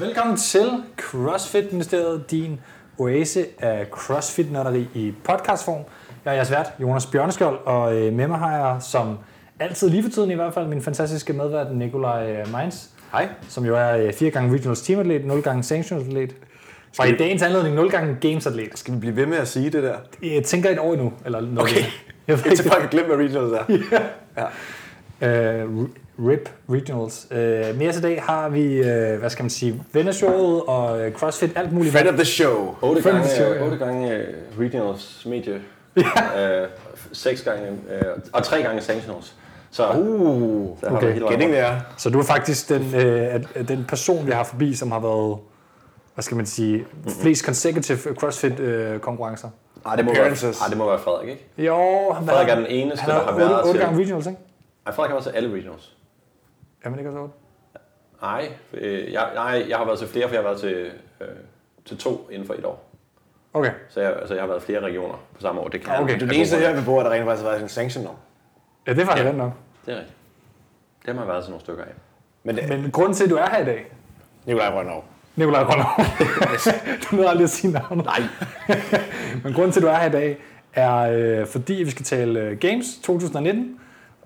Velkommen til CrossFit Ministeriet, din oase af crossfit nørderi i podcastform. Jeg er jeres vært, Jonas Bjørneskjold, og øh, med mig har jeg, som altid lige for tiden i hvert fald, min fantastiske medvært Nikolaj øh, Mainz, Hej. som jo er øh, 4 gange regionals teamatlet, 0 gange sanctionsatlet, og vi- i dagens anledning 0 gange gamesatlet. Skal vi blive ved med at sige det der? Jeg tænker et år endnu, eller noget. Okay. Jeg ved Indtil ikke. folk har glemt, hvad regionals er. Øh, RIP Regionals. Øh, mere til dag har vi, øh, hvad skal man sige, vennershowet og øh, CrossFit, alt muligt. Friend of the show. 8 Friend of gange, the show, ja. show, 8 gange øh, regionals medie, ja. øh, 6 gange, øh, og 3 gange sanctionals. Så uh, Uh, der har okay. okay. helt getting vejen rundt. there. Så du er faktisk den, øh, at- at den person, vi har forbi, som har været, hvad skal man sige, flest consecutive øh, CrossFit-konkurrencer. Ej, det må være, Appearances. ej, det må være Frederik, ikke? Jo, han Frederik er den eneste, han har der har været 8 til- gange regionals, ikke? Ej, Frederik har været til alle regionals. Er man ikke også 8? Nej, øh, jeg, nej, jeg har været til flere, for jeg har været til, øh, til to inden for et år. Okay. Så jeg, altså, jeg har været flere regioner på samme år. Det kan Ja, okay. jeg- Du Den jeg eneste god her for. ved bordet, der rent faktisk har været en sanction om. Ja, det er faktisk Ja. ja. nok. Det er rigtigt. Det har man været til nogle stykker af. Men det er Men grunden til, at du er her i dag, Nikolaj Rønnerov. Nikolaj Rønner, du nåede aldrig at sige navnet. Nej. Men grunden til, at du er her i dag, er øh, fordi, vi skal tale øh, Games 2019,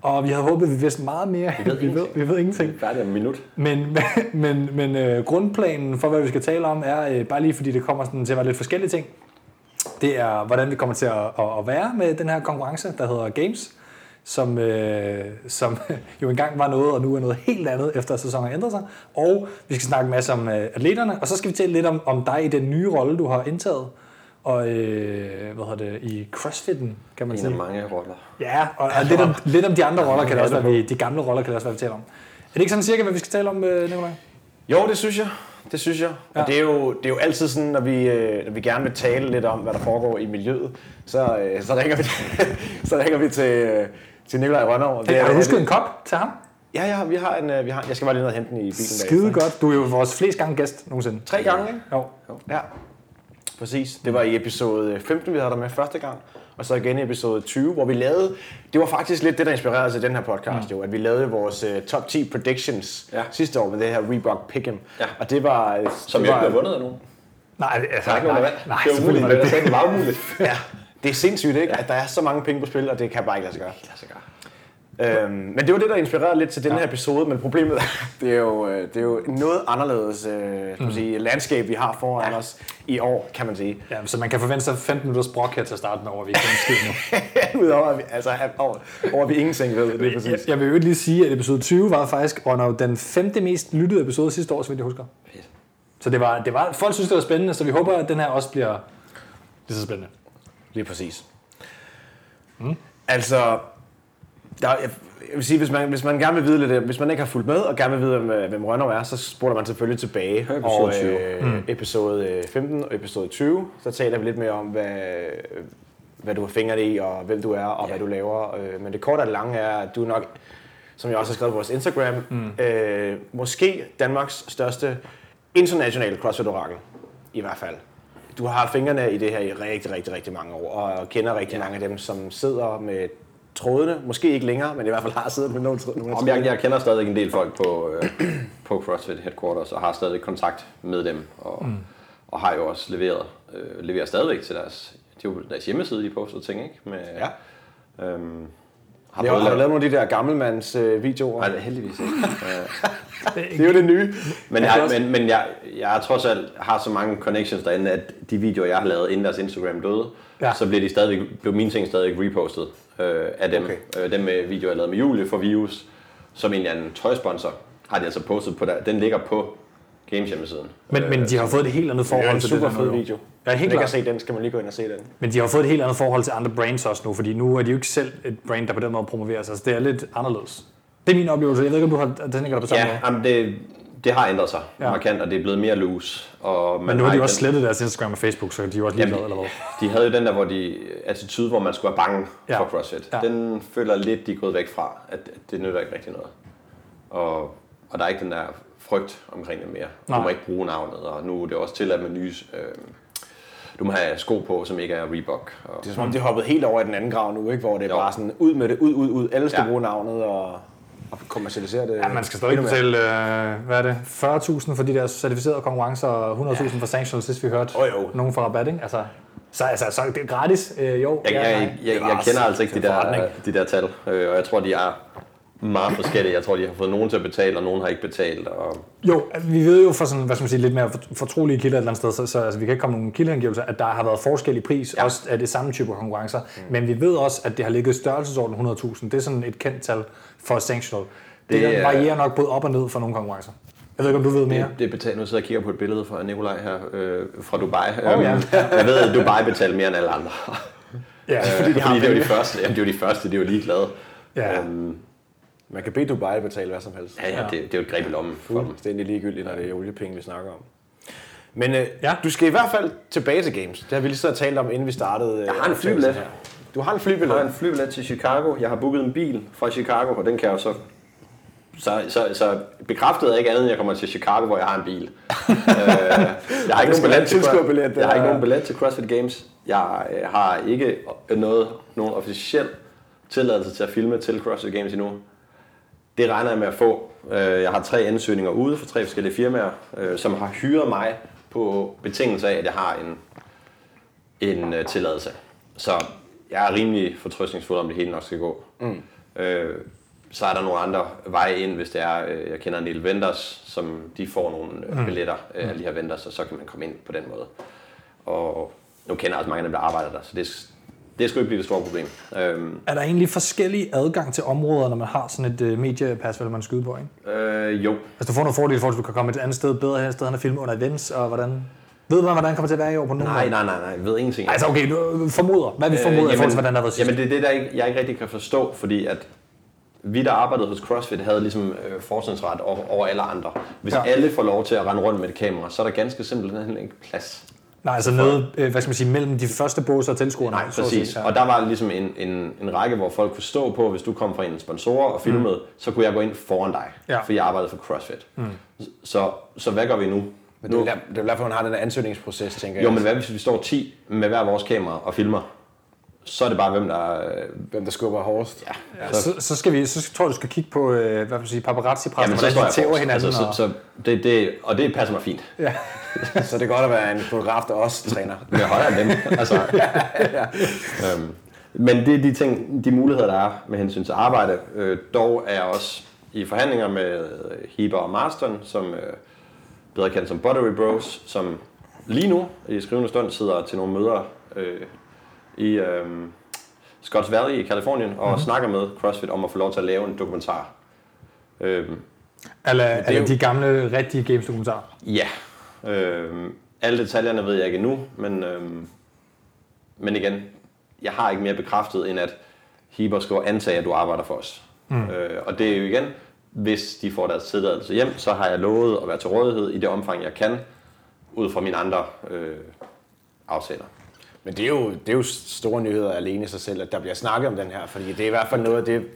og vi havde håbet, at vi vidste meget mere. Vi ved vi ved, vi ingenting. ved ingenting. Færdig om en minut. Men, men, men øh, grundplanen for, hvad vi skal tale om, er, øh, bare lige fordi det kommer sådan til at være lidt forskellige ting, det er, hvordan vi kommer til at, at, at være med den her konkurrence, der hedder Games, som, øh, som jo engang var noget, og nu er noget helt andet, efter at sæsonen har ændret sig. Og vi skal snakke en masse om øh, atleterne, og så skal vi tale lidt om, om dig i den nye rolle, du har indtaget. Og øh, hvad hedder det, i crossfitten, kan man En sige. af mange roller. Ja, og, altså, og lidt, om, lidt om de andre roller kan det også være, vi, de gamle roller kan det også være, vi taler om. Er det ikke sådan cirka, hvad vi skal tale om, øh, Nikolaj? Jo, det synes jeg. Det synes jeg. Ja. Ja. Og det er, jo, det er jo altid sådan, når vi, øh, når vi gerne vil tale lidt om, hvad der foregår i miljøet, så, øh, så, ringer, vi, så ringer vi til, øh, til Nikolaj Rønnerov. Har du husket en kop til ham? Ja, ja, vi har en, øh, vi har, jeg skal bare lige ned og hente den i bilen. Skide bagefter. godt. Du er jo vores flest gange gæst nogensinde. Tre gange, ikke? Jo. Ja, præcis. Det var i episode 15, vi havde dig med første gang, og så igen i episode 20, hvor vi lavede, det var faktisk lidt det, der inspirerede os i den her podcast mm. jo, at vi lavede vores uh, top 10 predictions ja. Ja. sidste år med det her Reebok Pick'em. Ja. Og det var... øh, Som det jeg ikke var, blev vundet af nogen. Nej, altså, Der er ikke nogen, der vandt. nej, det er umuligt, selvfølgelig men var det det er meget umuligt. Ja, det er sindssygt, ikke? At der er så mange penge på spil, og det kan bare ikke lade sig gøre. Øhm, men det var det, der inspirerede lidt til den her episode, men problemet er, det er jo, øh, det er jo noget anderledes øh, mm. sige, landskab, vi har foran ja. os i år, kan man sige. Ja, så man kan forvente sig 15 minutters brok her til at starte med, over vi ikke kan skide nu. Udover at vi, altså, at- over, over at vi ingenting ved, det er Jeg, præcis. jeg vil jo lige sige, at episode 20 var faktisk under den femte mest lyttede episode sidste år, så vidt jeg husker. Fedt. Så det var, det var, folk synes, det var spændende, så vi håber, at den her også bliver lige så spændende. Lige præcis. Altså, der, jeg, jeg vil sige, hvis man, hvis man gerne vil vide lidt, hvis man ikke har fulgt med, og gerne vil vide, hvem, øh, hvem Rønnow er, så spoler man selvfølgelig tilbage. Hør episode og, øh, episode øh, 15 og episode 20, så taler vi lidt mere om, hvad, øh, hvad du har fingrene i, og hvem du er, og Ja. hvad du laver. Øh, Men det korte og det lange er, at du er nok, som jeg også har skrevet på vores Instagram, mm. øh, måske Danmarks største internationale crossfit-orakel, i hvert fald. Du har haft fingrene i det her i rigtig, rigtig, rigtig mange år, og kender rigtig ja. mange af dem, som sidder med trådene, måske ikke længere, men i hvert fald har siddet med nogle tråd- nogle af Om trådene. jeg, jeg kender stadig en del folk på, øh, på CrossFit Headquarters og har stadig kontakt med dem. Og, mm. og har jo også leveret, øh, leverer stadigvæk til deres, det er jo deres hjemmeside, de poster ting, ikke? Med, Ja. Øhm, har Har du, har du lavet lavet nogle af de der gammelmands øh, videoer? Nej, heldigvis ikke. Øh, det er jo det nye. men Altså Ja, det er jeg, også- men, men jeg, jeg er trods alt har så mange connections derinde, at de videoer, jeg har lavet, inden deres Instagram døde, Ja. ja. så blev, de stadigvæk, blev mine ting stadig repostet øh, af dem. Okay. Okay. Øh, dem med videoer, jeg lavede med Julie for Views, som en eller anden tøjsponsor, har de altså postet på der. Den ligger på Games hjemmesiden. Men, men de har fået et helt andet Det er forhold en til det super der fed nu. video. Ja, helt Hvis man ikke klart. har set den, skal man lige gå ind og se den. Men de har jo fået et helt andet forhold til andre brands også nu, fordi nu er de jo ikke selv et brand, der på den måde promoverer sig. Så det er lidt anderledes. Det er min oplevelse. Jeg ved ikke, om du har tænkt dig på samme Ja, måde. jamen det, det har ændret sig Ja. ja. markant, og det er blevet mere loose. Og man Men nu har de ikke jo også den- slettet deres Instagram og Facebook, så de er jo også Jamen, ligeglade eller hvad. de havde jo den der hvor de, øh, attitude, hvor man skulle være bange Ja. ja. for CrossFit. Ja. Ja. Den føler lidt, de er gået væk fra, at at det nytter ikke rigtig noget. Og, og der er ikke den der frygt omkring det mere. Nej. Nej. Du må ikke bruge navnet, og nu er det også tilladt med nye... Øh, du må have sko på, som ikke er Reebok. Og, Det er som om, de er hoppet helt over i den anden grav nu, ikke? hvor det er Jo. bare sådan, ud med det, ud, ud, ud. Alle skal Ja. bruge navnet, og og kommercialisere det. Ja, man skal stadig endnu mere. betale, øh, hvad er det, 40.000 for de der certificerede konkurrencer, og 100.000 for sanctions, sidst vi hørte Åh, jo. nogen fra rabat, ikke? Altså, så, altså, så det er gratis, øh, jo. Jeg, ja, jeg, nej. jeg, jeg, var jeg kender altså altså ikke de en der, forretning. de der tal, øh, og jeg tror, de er meget forskellige. Jeg tror, de har fået nogen til at betale, og nogen har ikke betalt. Og Jo, altså, vi ved jo fra sådan, hvad skal man sige, lidt mere fort- fortrolige kilder et eller andet sted, så, så altså, vi kan ikke komme med nogle kildeangivelser, at der har været forskel i pris, ja. også af det samme type konkurrencer. Mm. Men vi ved også, at det har ligget i størrelsesorden 100.000. Det er sådan et kendt tal for sanctional. Det, Det det er- varierer nok både op og ned for nogle konkurrencer. Jeg ved ikke, om du ved mere. det, det betaler, nu sidder jeg og kigger på et billede fra Nikolaj her øh, fra Dubai. Øhm, Åh, ja. Jeg ved, at Dubai betalte mere end alle andre. Ja, Fordi, de det er jo de første. Jamen, det er jo de første, det er jo ligeglade. ja. Øhm, Man kan bede Dubai betale hvad som helst. ja, ja, det, det er jo et greb i lommen for dem. Fuldstændig ligegyldigt, når det er oliepenge, vi snakker om. Men øh, Ja. ja. du skal i hvert fald tilbage til games. Det har vi lige så talt om, inden vi startede. Øh, Jeg har en optagelsen flybillet. her. Du har en flybillet. Jeg har en flybillet til Chicago. Jeg har booket en bil fra Chicago, og den kan jeg jo så... Så, så, så bekræftede jeg ikke andet, end jeg kommer til Chicago, hvor jeg har en bil. øh, jeg har ikke skal nogen billet være til, en tilskuerbillet, jeg har ikke eller- nogen billet til CrossFit Games. Jeg øh, har ikke noget, nogen officiel tilladelse til at filme til CrossFit Games endnu. Det regner jeg med at få. Øh, Jeg har tre ansøgninger ude fra tre forskellige firmaer, øh, som har hyret mig på betingelse af, at jeg har en, en øh, tilladelse. Så jeg er rimelig fortrøstningsfuld om det hele nok skal gå. Mm. Øh, så er der nogle andre veje ind, hvis det er, øh, jeg kender en del vendors, som de får nogle øh, billetter øh, af de her vendors, og så kan man komme ind på den måde. Og nu kender jeg også mange af dem, der arbejder der, så det, det skulle ikke blive det store problem. Øhm, Er der egentlig forskellig adgang til områder, når man har sådan et øh, mediepas, hvad man skyder på? Ikke? øh, jo, Altså, du får nogle fordele for, at du kan komme et andet sted bedre hen, et sted, end at filme under events, og hvordan... Ved man, hvordan det kommer til at være i år på nogen nej, nej, nej, nej, jeg ved ingenting. Altså, okay, du formoder. Hvad vi formoder øh, i forhold til, hvordan der har været sidst? Jamen, det er det, der ikke, jeg ikke rigtig kan forstå, fordi at vi, der arbejdede hos CrossFit, havde ligesom øh, fortrinsret over, over alle andre. Hvis Ja. ja. alle får lov til at rende rundt med et kamera, så er der ganske simpelthen ikke plads. Nej, altså nede, øh, hvad skal man sige, mellem de første båser og tilskuerne. Nej, så at præcis. sige. Og der var ligesom en, en, en række, hvor folk kunne stå på, hvis du kom fra en sponsor og filmede, mm. så kunne jeg gå ind foran dig, Ja. for jeg arbejdede for CrossFit. Mm. Så, så hvad gør vi nu? Men det er nu jo der- det er jo derfor, hun har den der ansøgningsproces, tænker jeg. jo, men hvad hvis vi står 10 med hver vores kamera og filmer? Så er det bare, hvem der... øh, Hvem der skubber hårdest. Ja. Ja. Så, så, skal vi, så tror jeg, du skal kigge på, øh, hvad skal man sige, paparazzi-pressen, Jamen, så hvordan står de jeg tæver forrest. hinanden. Altså, så, og- så det, det, og det passer mig fint. Så det er godt at være en fotograf, der også træner. Men jeg er højere end dem. Altså, øhm, men det er de ting, de muligheder, der er med hensyn til arbejde. Øh, dog er jeg også i forhandlinger med øh, Heber og Marston, som øh, bedre kendt som Buttery Bros, som lige nu i skrivende stund sidder til nogle møder øh, i øh, Scotts Valley i Kalifornien og mm-hmm. snakker med CrossFit om at få lov til at lave en dokumentar. Øh, Eller, er eller jo- de gamle, rigtige games-dokumentarer. Ja. Øhm, alle detaljerne ved jeg ikke endnu, men, øhm, men igen, jeg har ikke mere bekræftet, end at Heber skriver antage, at du arbejder for os. Mm. Øh, og det er jo igen, hvis de får deres tilladelse hjem, så har jeg lovet at være til rådighed i det omfang, jeg kan, ud fra mine andre øh, aftaler. Men det er, jo, det er jo store nyheder alene i sig selv, at der bliver snakket om den her, fordi det er i hvert fald noget af det,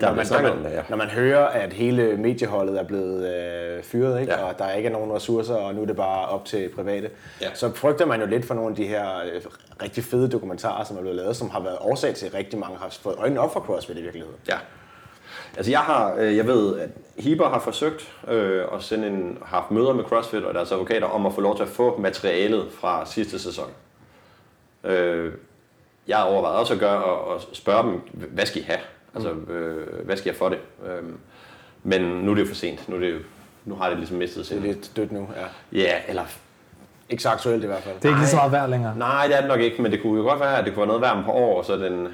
når man, når, snakket man, om det, ja. når man hører, at hele medieholdet er blevet øh, fyret, ikke? Ja. og der ikke er nogen ressourcer, og nu er det bare op til private, Ja. så frygter man jo lidt for nogle af de her øh, rigtig fede dokumentarer, som er blevet lavet, som har været årsag til, at rigtig mange har fået øjnene op for CrossFit i virkeligheden. Ja. Altså jeg har, øh, jeg ved, at Heber har forsøgt øh, at sende en, har haft møder med CrossFit og deres advokater om at få lov til at få materialet fra sidste sæson. Øh, jeg har overvejet også at gøre og, og spørge dem, hvad skal I have? Altså, Mm. øh, hvad skal jeg for det? Øh, men nu er det jo for sent. Nu, er det jo, nu har det ligesom mistet Det er sig. lidt dødt nu, ja. Ja, eller... Ikke så aktuelt i hvert fald. Det er ikke lige så Nej. meget værd længere. Nej, det er det nok ikke, men det kunne jo godt være, at det kunne være noget værd om et par år, og så den,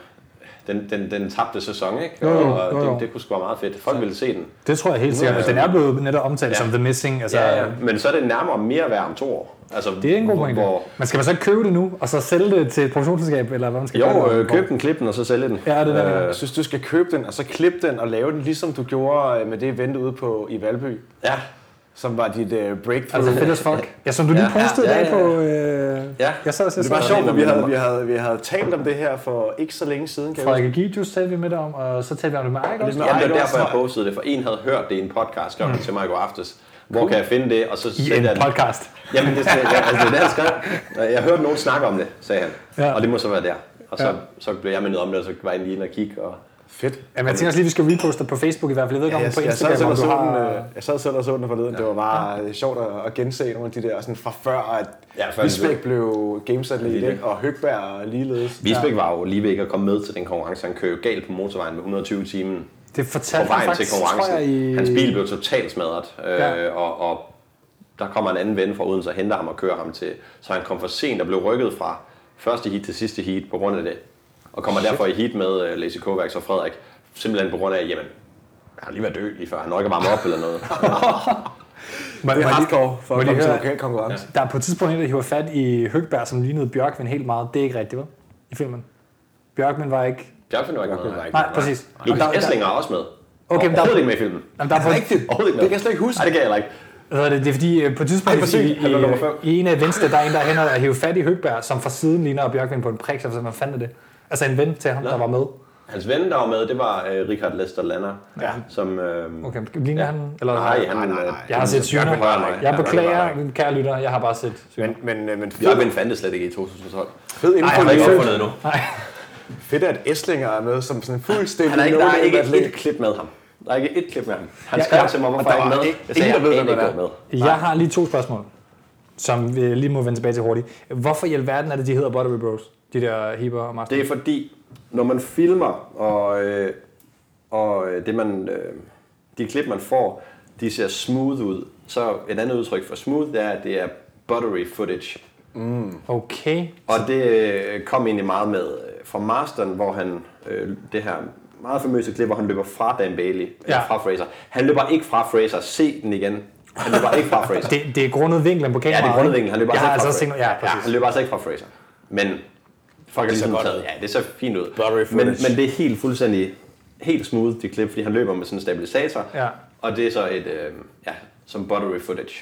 den, den, den tabte sæson, ikke? Jo, jo, og jo, jo. Det, det kunne sgu være meget fedt. Folk ville se den. Det tror jeg helt sikkert. Den er blevet netop omtalt Ja. som The Missing. Altså, Ja, ja. Men så er det nærmere mere værd om to år. Altså, Det er en god hvor- pointe. Hvor, Men skal man så ikke købe det nu, og så sælge det til et produktionsselskab, eller hvad man skal gøre? jo, det? øh, køb den, klip den, og så sælge den. Ja, det er det, jeg Øh, Jeg synes, du skal købe den, og så klippe den og lave den, ligesom du gjorde øh, med det event ude på, i Valby, ja, som var dit øh, breakthrough. Altså fedt as fuck. Ja, som du lige øh, ja, postede i ja, dag ja. på... Øh, Ja. Jeg sad og Det var sagde, sjovt, for vi havde, vi, havde, vi havde talt om det her for ikke så længe siden. Kan jeg huske. Frederik Gidius talte vi med dig om, og så talte vi om det med Erik også. med Jamen, det Ej, var det var derfor, jeg smart. postede det, for en havde hørt det i en podcast, skrev mm. til mig i går aftes. Hvor kan jeg finde det? Og så I en sendte jeg den. podcast. Jamen, det, jeg, altså, det er det, han skrev. Øh, Jeg hørte nogen snakke om det, sagde han. Ja. Og det må så være der. Og så, Ja. så blev jeg mindet om det, og så var jeg lige inde og kigge. Og, Fedt. Ja, men jeg tænker også lige, vi skal reposte dig på Facebook i hvert fald. Jeg ved ikke, om jeg, på jeg, sad Instagram, selv om og du så har... den, øh, jeg sad selv og så den forleden. Det var bare øh, sjovt at, at gense nogle af de der sådan fra før, at Ja, ja, før Lisbæk Lisbæk. blev gamesat lidt, Lille. ikke? og Høgberg ligeledes. Visbæk var jo lige ved ikke at komme med til den konkurrence. Han kørte jo galt på motorvejen med 120 timen Det på fortalte han vejen til faktisk, tror konkurrencen. jeg, i... Hans bil blev totalt smadret, øh, Ja. og, og der kommer en anden ven fra Odense og henter ham og kører ham til. Så han kom for sent og blev rykket fra første heat til sidste heat på grund af det. Og kommer derfor i heat med øh, Lasse Kovacs og Frederik, simpelthen på grund af, jamen, han har lige været død lige før, han når ikke at varme op eller noget. Må- Det må er jeg lige- hardcore for må jeg at komme lige til høre- lokal konkurrence. Der er på et tidspunkt en, der hiver fat i Høgberg, som lignede Bjørkman helt meget. Det er ikke rigtigt, vel? I filmen. Bjørkman var ikke... Bjørkvind var ikke med. var ikke Nej, præcis. Lukas Og der- Esslinger er også med. Okay, men der- Overhovedet ikke med i filmen. Jamen, der er på, Overhovedet ikke med. Det kan jeg slet ikke huske. Nej, det kan jeg heller ikke. Hvad hedder det, det er fordi, øh, på et tidspunkt Ej, hvor sygt. i, Han var nummer fem. i, i, en af venstre, der er en, der hænder og hiver fat i Høgberg, som fra siden ligner Bjørkman på en prik, så man fandt det. Altså en ven til ham, Nå. der var med. Hans ven, der var med, det var øh, Richard Lester Lander, Ja. som... Øh, Okay, ligner Ja. han? Eller, Nej, han, Nej, nej, nej. Jeg har set syner. Bjørkman var der ikke. Jeg Bjørkman var der beklager, ikke. kære lytter, jeg har bare set syner. Men, men, øh, men fed, Bjørkvind fandtes slet ikke i 2012. fed info, Nej, han har ikke lige. opfundet endnu. Nej, Fedt, at Esslinger er med som sådan en fuldstændig Han er ikke, der er no-name ikke atlet. et klip med ham. Der er ikke et klip med ham. Han Ja, skrev ja. til mig, hvorfor Og der jeg ikke var med. ikke- Jeg sagde, ingen, jeg der ved, ved, ikke hvem han gået med. jeg har lige to spørgsmål, som vi lige må vende tilbage til hurtigt. Hvorfor i alverden er det, de hedder Buttery Bros? De der Heber og Master. Det er fordi, når man filmer, og, øh, og øh, det man, øh, de klip, man får, de ser smooth ud. Så et andet udtryk for smooth, det er, at det er buttery footage. Okay. Og det øh, kom egentlig meget med øh, fra Masteren, hvor han, øh, det her meget famøse klip, hvor han løber fra Dan Bailey, ja. Ja. fra Fraser. Han løber ikke fra Fraser, se den igen. Han løber ikke fra Fraser. Det, det er grundet vinklen på Ja, kameraet. det er grundlæggende. Han løber jeg altså har ikke altså også fra Fraser. tænkt, ja, præcis. han løber altså ikke fra Fraser. Men folk har ligesom godt taget, ja, det ser fint ud. Blurry Men, footage. men det er helt fuldstændig, helt smooth, det klip, fordi han løber med sådan en stabilisator. Ja. Og det er så et, øh, ja, som buttery footage.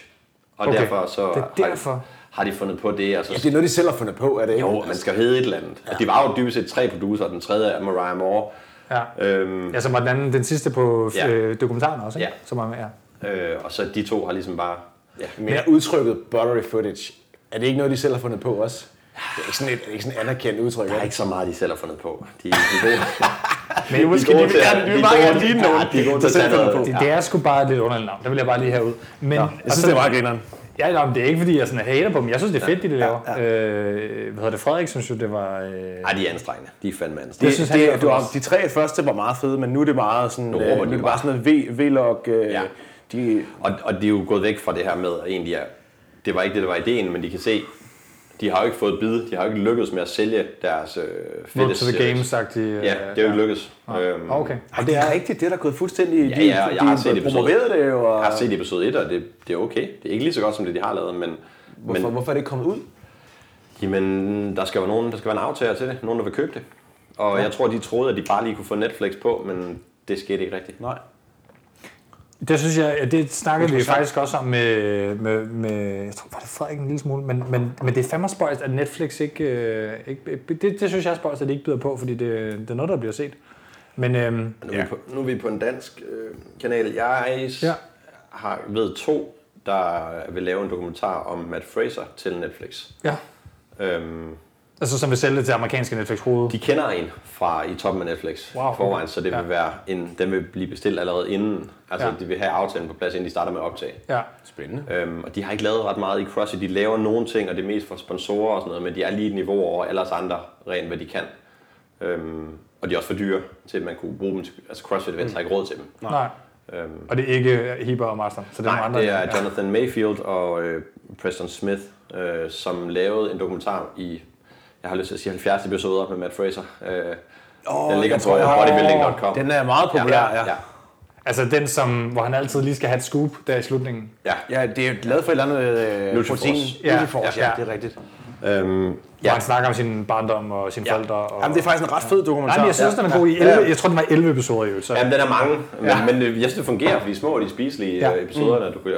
Og Okay. derfor så Det er Har, de, derfor. har de fundet på det, altså og så Ja, det er noget, de selv har fundet på, er det ikke? jo, altså- man skal jo hedde et eller andet. Ja. Og de var jo dybest set tre producer, den tredje er Mariah Moore. Ja. Øhm, Ja, som var den anden, den sidste på Ja. ja. øh, dokumentaren også, ikke? Ja. Som var med, ja. øh, og så de to har ligesom bare... Ja, Men er Altså, udtrykket buttery footage, er det ikke noget, de selv har fundet på også? Det er ikke sådan et, det er ikke sådan et anerkendt udtryk. der er er det? ikke så meget, de selv har fundet på. De, de, de, de, Men det, måske de vil gerne- de vil bare gerne ligne nogen, de er gode der til at selv tage finder noget. på. det, det er sgu bare et lidt underligt navn. Det vil jeg bare lige have ud. Men, ja, Jeg synes, det er meget grineren. Ja, nej, men det er ikke, fordi jeg sådan hater på dem. Jeg synes, det er fedt, det de laver. Ja, ja. Øh, hvad hedder det? Frederik synes jo, det var... Øh, Ej, de er anstrengende. De er fandme anstrengende. Det, synes synes, han i det, hvert det, fald du har, også. de tre første var meget fede, men nu er det meget sådan, Nu nu, råber øh, nu de er det bare. bare sådan noget v- V-log. Øh, Ja. de, Og, og de er jo gået væk fra det her med, at egentlig er, det var ikke det, der var ideen, men de kan se, de har jo ikke fået bid, de har jo ikke lykkedes med at sælge deres øh, Road fitness to the series. Games, sagt de... Øh, Ah, Ja, det er jo ikke lykkedes. Øhm, Okay. og det er rigtigt, det er der gået fuldstændig... Ja, ja, jeg har set de episoden. promoverede det jo. Og, Jeg har set episode 1, og det, det er okay. Det er ikke lige så godt, som det, de har lavet, men... hvorfor, men hvorfor er det ikke kommet ud? Jamen, der skal jo nogen, der skal være en aftager til det. Nogen, der vil købe det. Og jeg tror, de troede, at de bare lige kunne få Netflix på, men det skete ikke rigtigt. Nej. Det synes jeg, at det snakkede vi faktisk også om med, med, med jeg tror, var det Frederik en lille smule, men, men, men det er fandme spøjst, at Netflix ikke, øh, ikke det, det synes jeg er spøjst, at det ikke byder på, fordi det, det er noget, der bliver set. Men øhm, Nu, ja. er, vi på, nu er vi på en dansk øh, kanal. Jeg ja. Ja. har ved to, der vil lave en dokumentar om Matt Fraser til Netflix. ja, Øhm, altså som vil sælge det til amerikanske Netflix hoved. de kender en fra i toppen af Netflix Wow, okay. forvejen, så det vil Ja. være en, den vil blive bestilt allerede inden. Altså, Ja. de vil have aftalen på plads, inden de starter med at optage. Ja. Spændende. Øhm, og de har ikke lavet ret meget i CrossFit. De laver nogle ting, og det er mest for sponsorer og sådan noget, men de er lige et niveau over alle os andre, rent hvad de kan. Øhm, og de er også for dyre til, at man kunne bruge dem til, altså CrossFit Events har ikke råd til dem. Nej. Nej. Øhm, Og det er ikke Heber og Marston, så det er nogle nej, andre. det er ja. Jonathan Mayfield og øh, Preston Smith, øh, som lavede en dokumentar i, jeg har lyst til at sige 70 episoder med Matt Fraser. Øh, oh, den ligger jeg på tror, jeg har- bodybuilding.com. Den er meget populær, ja. ja. Altså den, som, hvor han altid lige skal have et scoop der i slutningen. ja. Ja, det er jo lavet for et eller andet øh, Nutrifors. protein. Ja, Nutrifors, ja. ja, det er rigtigt. Øhm, Ja. Hvor ja. han snakker om sin barndom og sine Ja. ja. forældre. Og... Jamen, det er faktisk en ret fed dokumentar. Nej, men jeg synes, ja. den er god i 11. Jeg tror, den var 11 episoder i øvrigt. Så. Jamen, den er mange, men, ja. men øh, jeg synes, det fungerer, fordi små og de spiselige ja. Ja. Mm. episoderne, du kan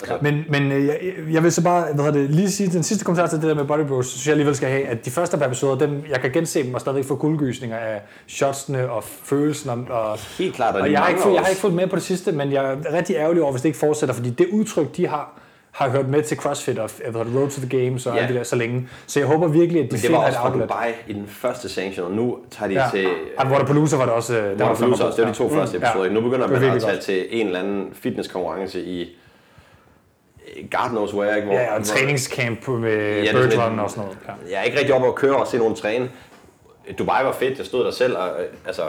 altså, Men, men øh, jeg, jeg vil så bare hvad hedder det, lige sige, den sidste kommentar til det der med Body Bros, synes jeg alligevel skal have, at de første par episoder, dem, jeg kan gense dem og stadigvæk få kuldegysninger af shotsene og følelsen. Og, og, Helt klart, og, og jeg, har ikke, fået, jeg har ikke fulgt med på det sidste, men jeg er rigtig ærgerlig over, hvis det ikke fortsætter, fordi det udtryk, de har, har hørt med til CrossFit og jeg ved, Road to the Games og Ja. alt det der så længe. Så jeg håber virkelig, at de Men det var finder et også fra outlet. Dubai i den første sanction, og nu tager de Ja. til... Og Waterpalooza var det også. øh, Der Der var var det også, det var de to første Ja. episoder. Ja. Nu begynder Det var man at virkelig tage til en eller anden fitnesskonkurrence i... God knows where, ikke? Hvor, Ja, og en hvor- træningscamp med det ja, er sådan Bird Run lidt- og sådan noget. Ja. Jeg er ikke rigtig oppe at køre og se nogen træne. Dubai var fedt, jeg stod der selv, og øh, altså...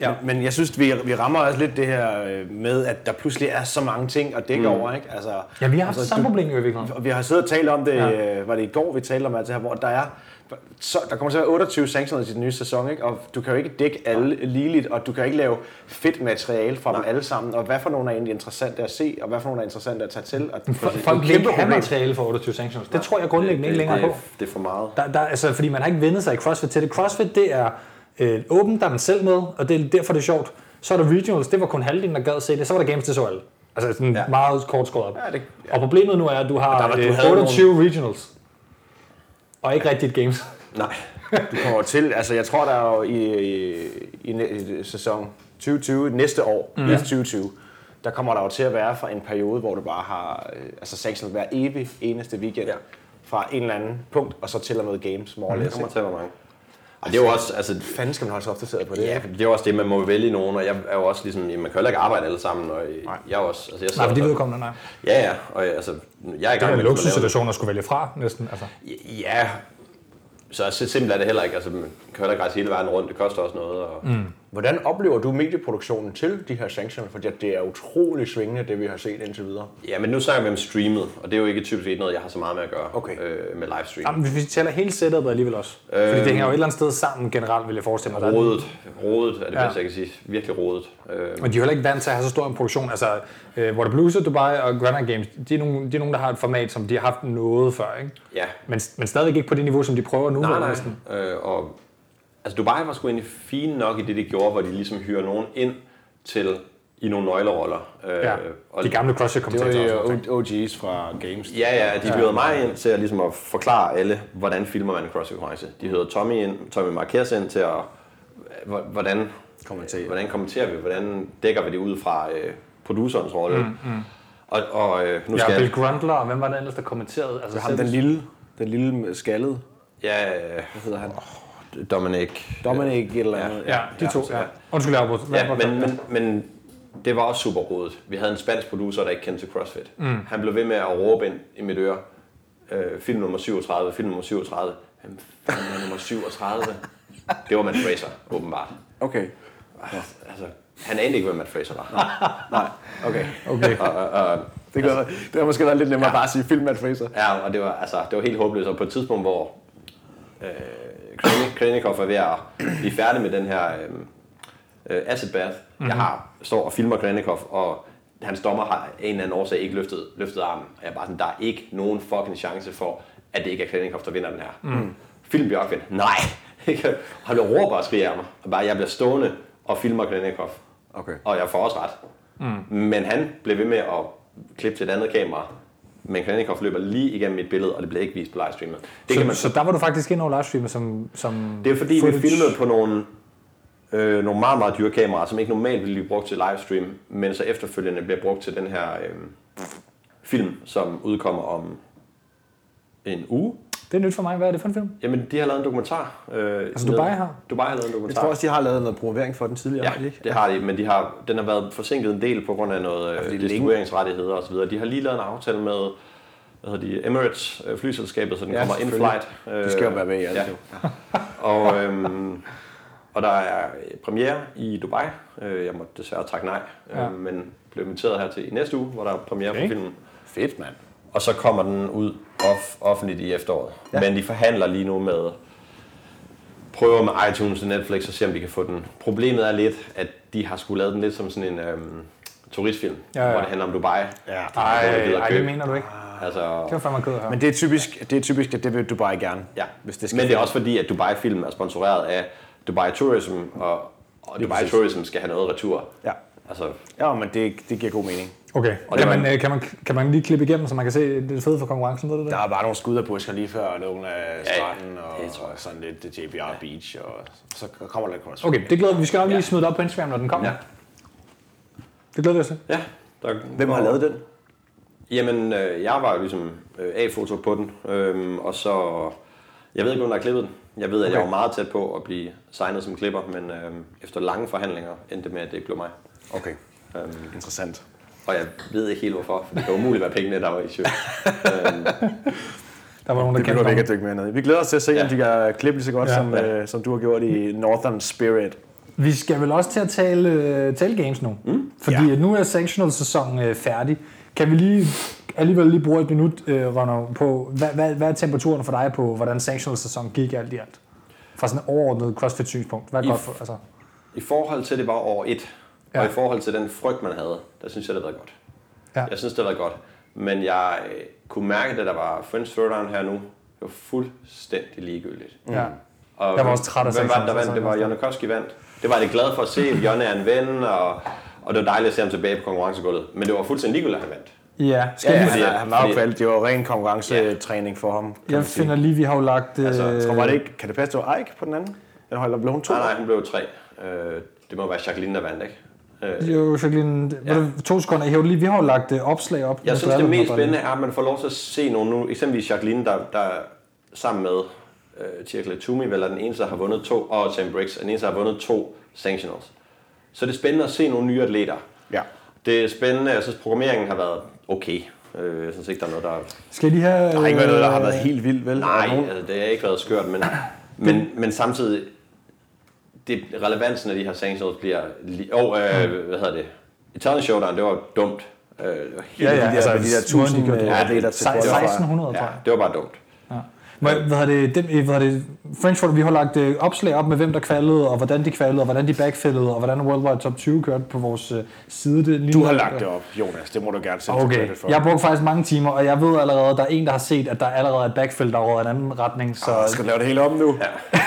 Ja. Men jeg synes, vi, vi rammer også lidt det her øh, med, at der pludselig er så mange ting at dække mm. over. Ikke? Altså, Ja, vi har haft altså, samme du- problem i virkeligheden. Og vi har siddet og talt om det, Ja. ja. øh, var det i går, vi talte om alt det her, hvor der er, så, der kommer til at være 28 sanctioner i den nye sæson, ikke? og du kan jo ikke dække alle ligeligt, og du kan ikke lave fedt materiale fra dem alle sammen, og hvad for nogle er egentlig interessante at se, og hvad for nogle er interessante at tage til. Og, Folk vil ikke have materiale for 28 sanctions. Det tror jeg grundlæggende ikke længere det, på. Det er for meget. Der, der, altså, fordi man har ikke vendet sig i CrossFit til det. CrossFit, det er øh, åbent, der er man selv med, og det er derfor, det er sjovt. Så er der regionals, det var kun halvdelen, der gad se det. Så var der games, det så alle. Altså sådan ja. Ja. meget kort skåret op. Ja, det- Og problemet nu er, at du har Og der var- du øh, havde 28 nogle... regionals. Og ikke rigtigt games. Nej. Du kommer til, altså jeg tror der er jo i, i, i, næ- i sæson 2020, næste år, Mhm. mm. 2020, der kommer der jo til at være fra en periode, hvor du bare har, øh, altså sanctioner hver evig eneste weekend, Ja. ja. fra en eller anden punkt, og så til og med games, more mm. Det kommer til at være mange. Og det er jo også, altså, fanden skal man holde sig opdateret på det? ja, det er jo også det, man må vælge nogen, og jeg er jo også ligesom, jamen, man kan heller ikke arbejde alle sammen, og øh, jeg er jo også, altså, jeg Nej, sidder for de også- vedkommende, nej. Ja, ja, og jeg- altså, jeg er i Det gang er en med at få lavet- luksussituation at skulle vælge fra, næsten. Altså. Ja, så så simpelt er det heller ikke, altså, man kan heller ikke rejse hele verden rundt, det koster også noget, og mm. Hvordan oplever du medieproduktionen til de her sanctioner? Fordi at det er utrolig svingende, det vi har set indtil videre. Ja, men nu snakker vi om streamet, og det er jo ikke typisk noget, jeg har så meget med at gøre Okay. øh, med livestream. Jamen, hvis vi tæller hele setupet alligevel også. Fordi Øh, det hænger jo et eller andet sted sammen generelt, vil jeg forestille mig. Der er- Rodet. Rodet er det Ja. ja. bedste, jeg kan sige. Virkelig rodet. Øh, Og de er jo heller ikke vant til at have så stor en produktion. Altså, øh, Water Blues og Dubai og Granite Games, de er, nogle, de er nogle, der har et format, som de har haft noget før, ikke? ja. Men, men stadigvæk ikke på det niveau, som de prøver nu. vel, næsten. Øh, og, altså Dubai var sgu egentlig fine nok i det, de gjorde, hvor de ligesom hyrer nogen ind til i nogle nøgleroller. Øh, Ja. og, De gamle crossfit Det var kommentatorer. jo og sådan noget. OG's fra Games. Ja, ja, de hyrede mig ind til at, ligesom at forklare alle, hvordan filmer man en crossfit-konkurrence. De hyrede Tommy ind, Tommy Marquez ind til at, hvor- hvordan, Kommentere. hvordan kommenterer vi, hvordan dækker vi det ud fra øh, producerens rolle. Mm, mm. Og, og øh, nu skal Ja, jeg- Bill Grundler, og hvem var det ellers, der kommenterede? Altså, Ham den lille, den lille skaldede, Ja, hvad hedder han? Dominic. Dominic et eller andet. Ja, de to, ja. Undskyld, jeg afbrød. Ja, men, men, men det var også super rodet. Vi havde en spansk producer, der ikke kendte til CrossFit. Mm. Han blev ved med at råbe ind i mit øre, øh, film nummer 37, film nummer 37. Hvem fanden er nummer 37? Det var Matt Fraser, åbenbart. Okay. Altså, han anede ikke, hvem Matt Fraser var. Okay. Okay. Det, gør, det er måske været lidt nemmere Altså- ja. bare at sige film at Fraser. Ja, og det var, altså, det var helt håbløst. Og på et tidspunkt, hvor øh, Krenni- Krennikov er ved at blive færdig med den her øh, øh, acid bath, mm-hmm. jeg har, står og filmer Krennikov, og hans dommer har af en eller anden årsag ikke løftet, løftet armen. Og jeg er bare sådan, der er ikke nogen fucking chance for, at det ikke er Krennikov, der vinder den her. Mm. Film Bjørkvind. Nej! Ikke? Og han bliver råber og skriger af mig. Og bare, jeg bliver stående og filmer Krennikov. Okay. Og jeg får også ret. Mm. Men han blev ved med at klippe til et andet kamera. Men Krennikov løber lige igennem mit billede, og det blev ikke vist på livestreamet. Det, kan man, så, så der var du faktisk ind over livestreamet som, som det er fordi, footage. vi filmede på nogle, øh, nogle meget, meget dyre kameraer, som ikke normalt ville blive brugt til livestream, men så efterfølgende bliver brugt til den her øh, film, som udkommer om en uge. Det er nyt for mig. Hvad er det for en film? Jamen, de har lavet en dokumentar. Øh, altså Dubai har? Dubai har lavet en Jeg dokumentar. tror også, de har lavet noget promovering for den tidligere. har de Ja, det har de, men de har, den har været forsinket en del på grund af noget fordi øh, længe- distribueringsrettigheder osv. De har lige lavet en aftale med hvad hedder de, Emirates øh, flyselskabet, så den Ja, kommer in selvfølgelig. flight. Øh, De skal jo være med i alt, ja. jo. og, øhm, og der er øh, premiere i Dubai. Øh, jeg måtte desværre takke nej, Ja. øh, men blev inviteret her til i næste uge, hvor der er premiere Okay. på filmen. Fedt, mand. Og så kommer den ud off, offentligt i efteråret. Ja. Men de forhandler lige nu med prøver med iTunes og Netflix og se, om de kan få den. Problemet er lidt, at de har skulle lavet den lidt som sådan en øhm, turistfilm, Ja, ja. hvor det handler om Dubai. Ja. Ja. Ej, det er noget, der ej, gider det købe. mener du ikke. Det Altså, var fandme ked at høre. Men det er typisk, det er typisk, at det vil Dubai gerne. ja. Hvis det skal Men det er også fordi, at Dubai-film er sponsoreret af Dubai Tourism, og, og Dubai præcis. Tourism skal have noget retur. Ja. Altså, Ja, men det, det giver god mening. Okay. Og det Kan var- man, øh, kan, man, kan man lige klippe igennem, så man kan se det fede for konkurrencen? Ved du det? Der er bare nogle skud af busker lige før nogle af ja. stranden og Det tror jeg. sådan lidt det JBR Beach, og så kommer der lidt cross. Okay, det glæder vi. Vi skal nok lige Ja. smide det op på Instagram, når den kommer. ja. Det glæder vi os til. ja. Der, Hvem har lavet den? Jamen, øh, jeg var jo ligesom øh, A-foto på den, øhm, og så... Jeg ved ikke, hvem der har klippet den. Jeg ved, at okay. jeg Okay. var meget tæt på at blive signet som klipper, men øhm, efter lange forhandlinger endte det med, at det ikke blev mig. Okay, Øhm, interessant. og jeg ved ikke helt hvorfor, for det var umuligt at være pengene, der var i søg. Der var nogen, der Det behøver vi ikke at kendte dykke mere ned i. Vi glæder os til at se, Ja. om de kan klippe lige så godt, Ja. ja, som, ja. Øh, som du har gjort i Northern Spirit. Vi skal vel også til at tale, øh, tale games nu. Mm. Fordi Ja. ja. nu er sanctional-sæsonen øh, færdig. Kan vi lige alligevel lige bruge et minut, øh, Ronald, på, hvad, hvad, hvad er temperaturen for dig på, hvordan sanctional-sæsonen gik alt i alt? Fra sådan et overordnet CrossFit-synspunkt. Hvad er I- godt for, altså, Mm. I forhold til, det var over et, ja. Ja. og i forhold til den frygt, man havde, der synes jeg, det har været godt. Ja. Jeg synes, det har været godt. Men jeg øh, kunne mærke, da der var Friends Throwdown her nu, det var fuldstændig ligegyldigt. ja. Og Jeg var også træt af hvem var det, sektionen, der vandt? så- Det var Jonne Koski vandt. Det var jeg lidt glad for at se, at Jonne er en ven, og, og det var dejligt at se ham tilbage på konkurrencegulvet. Men det var fuldstændig ligegyldigt, at han vandt. ja. Skal Ja, ja, han, lige, fordi- er- han var jo fordi- kvalgt. Det var ren konkurrencetræning for ham. kan man jeg sige. finder lige, vi har jo lagt... Øh, Altså, jeg Og var det ikke, kan det passe, det var Ike på den anden? Eller holdt blev hun to? Nej, nej, hun blev tre. Øh, det må være Jacqueline, der vandt, ikke? Øh, Jo, Jacqueline, ja. to sekunder. Jeg hæver lige, vi har jo lagt øh, opslag op. Jeg med synes, det Bradley, mest der bare lige- spændende er, at man får lov til at se nogle nu. Eksempelvis Jacqueline, der, der sammen med øh, Tirkle Tumi, vel er den eneste, der har vundet to, og Sam Briggs, er den eneste, der har vundet to sanctionals. Så det er spændende at se nogle nye atleter. Ja. Det er spændende, jeg synes, programmeringen har været okay. Øh, jeg synes ikke, der er noget, der... Skal jeg lige have... Der har ikke været noget, der har øh, været helt vildt, vel? Nej, Og nogen- altså, det har ikke været skørt, men, men, men samtidig, det, relevansen af de her sanctionals bliver... Li- og, øh, hvad hedder det? Italian Showdown, det var dumt. Øh, det var helt Ja, ja, de der- altså med de der måden, de tusind gjorde det. øh, atleter til se- prøve. 1600, tror jeg. Det var bare dumt. Hvad, hvad hedder det, dem, hvad hedder det, French Ford, vi har lagt øh, opslag op med, hvem der kvalede, og hvordan de kvalede, og hvordan de backfillede, og hvordan Worldwide Top 20 kørte på vores øh, side. Det Du har lagt det op, Jonas. Det må du gerne sætte dig Okay, credit for. jeg brugte faktisk mange timer, og jeg ved allerede, at der er en, der har set, at der allerede er et backfill, der er røget i en anden retning. Så Jeg Ah, skal lave det hele om nu. Ja.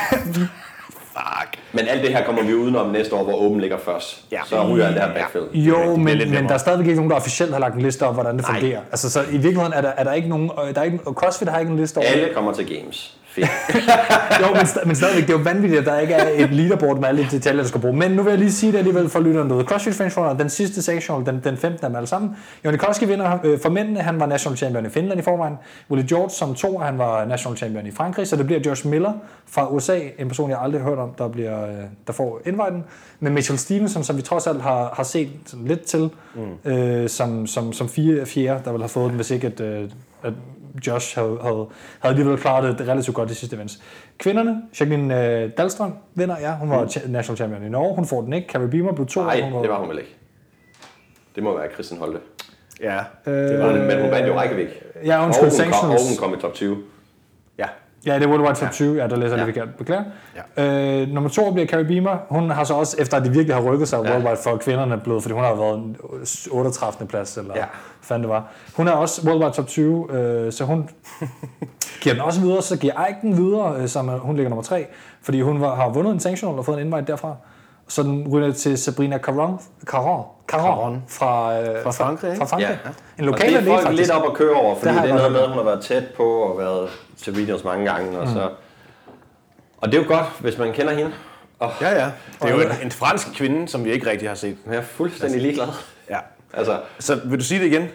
Men alt det her kommer vi udenom næste år, hvor Open ligger først. Ja. Så ryger alt det her backfill. Jo, rigtigt. Det er men, lidt men nemmere. der er stadigvæk ikke nogen, der officielt har lagt en liste over, hvordan det Nej. fungerer. Altså, så i virkeligheden er der, er der ikke nogen... øh, Der er ikke, og CrossFit har ikke en liste over... Alle kommer til games. Fedt. Jo, men, st- men stadigvæk, det er jo vanvittigt, at der ikke er et leaderboard med alle de detaljer, der skal bruge. Men nu vil jeg lige sige det alligevel for lytteren derude. CrossFit French Runner, den sidste sectional, den, den 15 af dem alle sammen. Jonikoski vinder øh, for mændene, han var national champion i Finland i forvejen. Willie George som to, han var national champion i Frankrig. Så det bliver Josh Miller fra USA, en person, jeg aldrig har hørt om, der, bliver, øh, der får inviten. Men Mitchell Stevenson, som vi trods alt har, har set sådan lidt til, mm. øh, som, som, som fire, fjerde, der ville have fået den, hvis ikke at, øh, at Josh havde, havde, havde alligevel klaret det relativt godt i sidste events. Kvinderne, Jacqueline øh, Dahlstrøm vinder, ja, hun var cha- national champion i Norge, hun får den ikke. Carrie Beamer blev to, Mm. Nej, hun det var hun vel ikke. Det må være Christian Holte. Ja, Øh, det var det. Men hun vandt jo Reykjavik. Ja, Og undskyld, hun kom, og hun sanctionals. kom i top 20. Ja. Ja, det er Worldwide Top 20, ja, der læser jeg ja. lige Ja. forkert, beklager. Ja. Øh, nummer to bliver Carrie Beamer, hun har så også, efter at det virkelig har rykket sig, ja. Worldwide for kvinderne blevet, fordi hun har været en 38. plads, eller ja. Ja. hvad fanden det var. Hun er også Worldwide Top 20, øh, så hun giver den også videre, så giver Ike den videre, øh, som er- hun ligger nummer tre, fordi hun var, har vundet en sanctional og fået en invite derfra. Så den ryger til Sabrina Caron, Caron, Caron, Caron. fra, øh, Fra Frankrig, ikke? fra Frankrig. En Ja. Og det lokal er atlet, folk lidt faktisk. op at køre over, fordi Det det, har er jeg godt noget med, at hun har været tæt på og været til videos mange gange. Mm. Og så. Og det er jo godt, hvis man kender hende. Og Ja, ja. Det er jo en, en fransk kvinde, som vi ikke rigtig har set. jeg er fuldstændig ligeglad. Ja. Altså, Så vil du sige det igen?